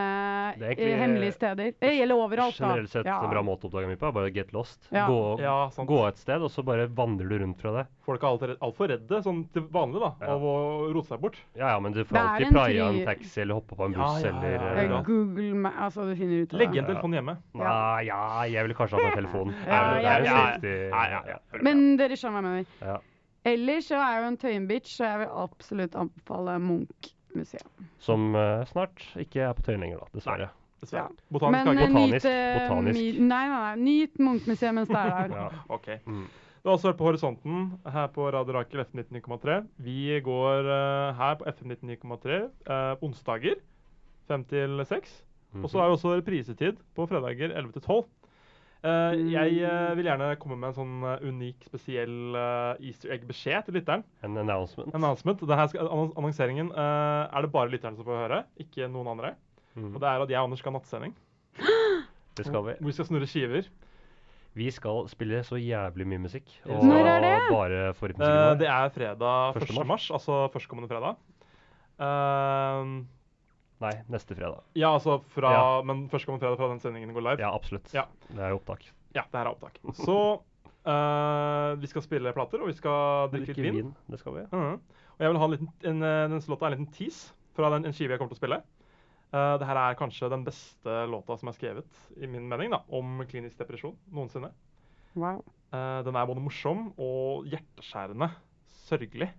Speaker 4: Det er egentlig,
Speaker 5: eh, hemmelige steder. Det gjelder overalt, da.
Speaker 4: Generelt sett
Speaker 5: Ja.
Speaker 4: en bra måte å oppdage mye på er bare get lost.
Speaker 5: Ja.
Speaker 4: Gå,
Speaker 3: Ja, sant.
Speaker 4: gå et sted, og så bare vandrer du rundt fra det.
Speaker 3: Folk er alltid redd- altfor redde, sånn til vanlig, da,
Speaker 4: Ja.
Speaker 3: av å rote seg bort.
Speaker 4: Ja ja, men du får
Speaker 5: Det er
Speaker 4: alltid
Speaker 5: en
Speaker 4: praia
Speaker 5: fri-
Speaker 4: en taxi eller hoppe på en
Speaker 3: Ja,
Speaker 4: buss
Speaker 3: ja, ja,
Speaker 4: eller
Speaker 5: Eh,
Speaker 3: ja.
Speaker 5: Google meg, altså du finner ut av det.
Speaker 3: Legg igjen telefonen hjemme.
Speaker 4: Nei, ja, jeg ville kanskje hatt meg telefon.
Speaker 5: Ja,
Speaker 4: det er jo
Speaker 5: jeg
Speaker 4: safety.
Speaker 5: Men dere skjønner hva jeg mener.
Speaker 4: Ja.
Speaker 5: Ellers så er jeg jo en tøyenbitch, så jeg vil absolutt anbefale Munch-museet.
Speaker 4: Som eh, snart ikke er på Tøyen lenger, da, dessverre.
Speaker 3: Dessverre.
Speaker 5: Ja.
Speaker 3: Botanisk
Speaker 5: Men,
Speaker 3: hage.
Speaker 5: eh,
Speaker 4: Botanisk,
Speaker 5: eh,
Speaker 4: botanisk.
Speaker 5: mi- Nei, nei, nei. Nyt Munch-museet mens det er der.
Speaker 4: Ja.
Speaker 3: OK.
Speaker 4: Mm.
Speaker 3: Du har også vært på Horisonten her på Radio Rakel FM 99,3. Vi går eh, her på FM 99,3 eh, onsdager fem til seks.
Speaker 4: Mm.
Speaker 3: Og så er det også reprisetid på fredager 11 til 12. Eh, jeg eh, vil gjerne komme med en sånn eh, unik, spesiell eh, easter egg-beskjed til lytteren.
Speaker 4: En announcement.
Speaker 3: Announcement. Det her skal, annon- annonseringen eh, er det bare lytteren som får høre, ikke noen andre.
Speaker 4: Mm.
Speaker 3: Og det er at jeg og Anders skal ha nattsending,
Speaker 4: Det skal vi.
Speaker 3: hvor vi skal snurre skiver.
Speaker 4: Vi skal spille så jævlig mye musikk. Og
Speaker 5: Når er det?
Speaker 4: bare forutmusikken
Speaker 3: Eh,
Speaker 4: vår.
Speaker 3: det er fredag 1.
Speaker 4: Første
Speaker 3: mars, altså førstkommende fredag. Eh,
Speaker 4: Nei, neste fredag.
Speaker 3: ja, altså fra
Speaker 4: Ja.
Speaker 3: Men førstkommende fredag fra den sendingen går live.
Speaker 4: Ja, absolutt.
Speaker 3: Ja.
Speaker 4: Det er jo opptak.
Speaker 3: Ja, det her er opptak. Så eh, vi skal spille plater, og vi skal drikke litt
Speaker 4: Drikke
Speaker 3: vin.
Speaker 4: vin. Det skal vi.
Speaker 3: Mhm. Og jeg vil ha en liten, en, eh, den låta er en liten tease fra den, en skive jeg kommer til å spille. Uh, det her er kanskje den beste låta som er skrevet, i min mening, da, om klinisk depresjon noensinne.
Speaker 5: Wow.
Speaker 3: Eh, den er både morsom og hjerteskjærende sørgelig.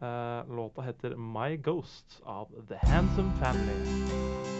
Speaker 3: Eh, låta heter My Ghost av The Handsome Family.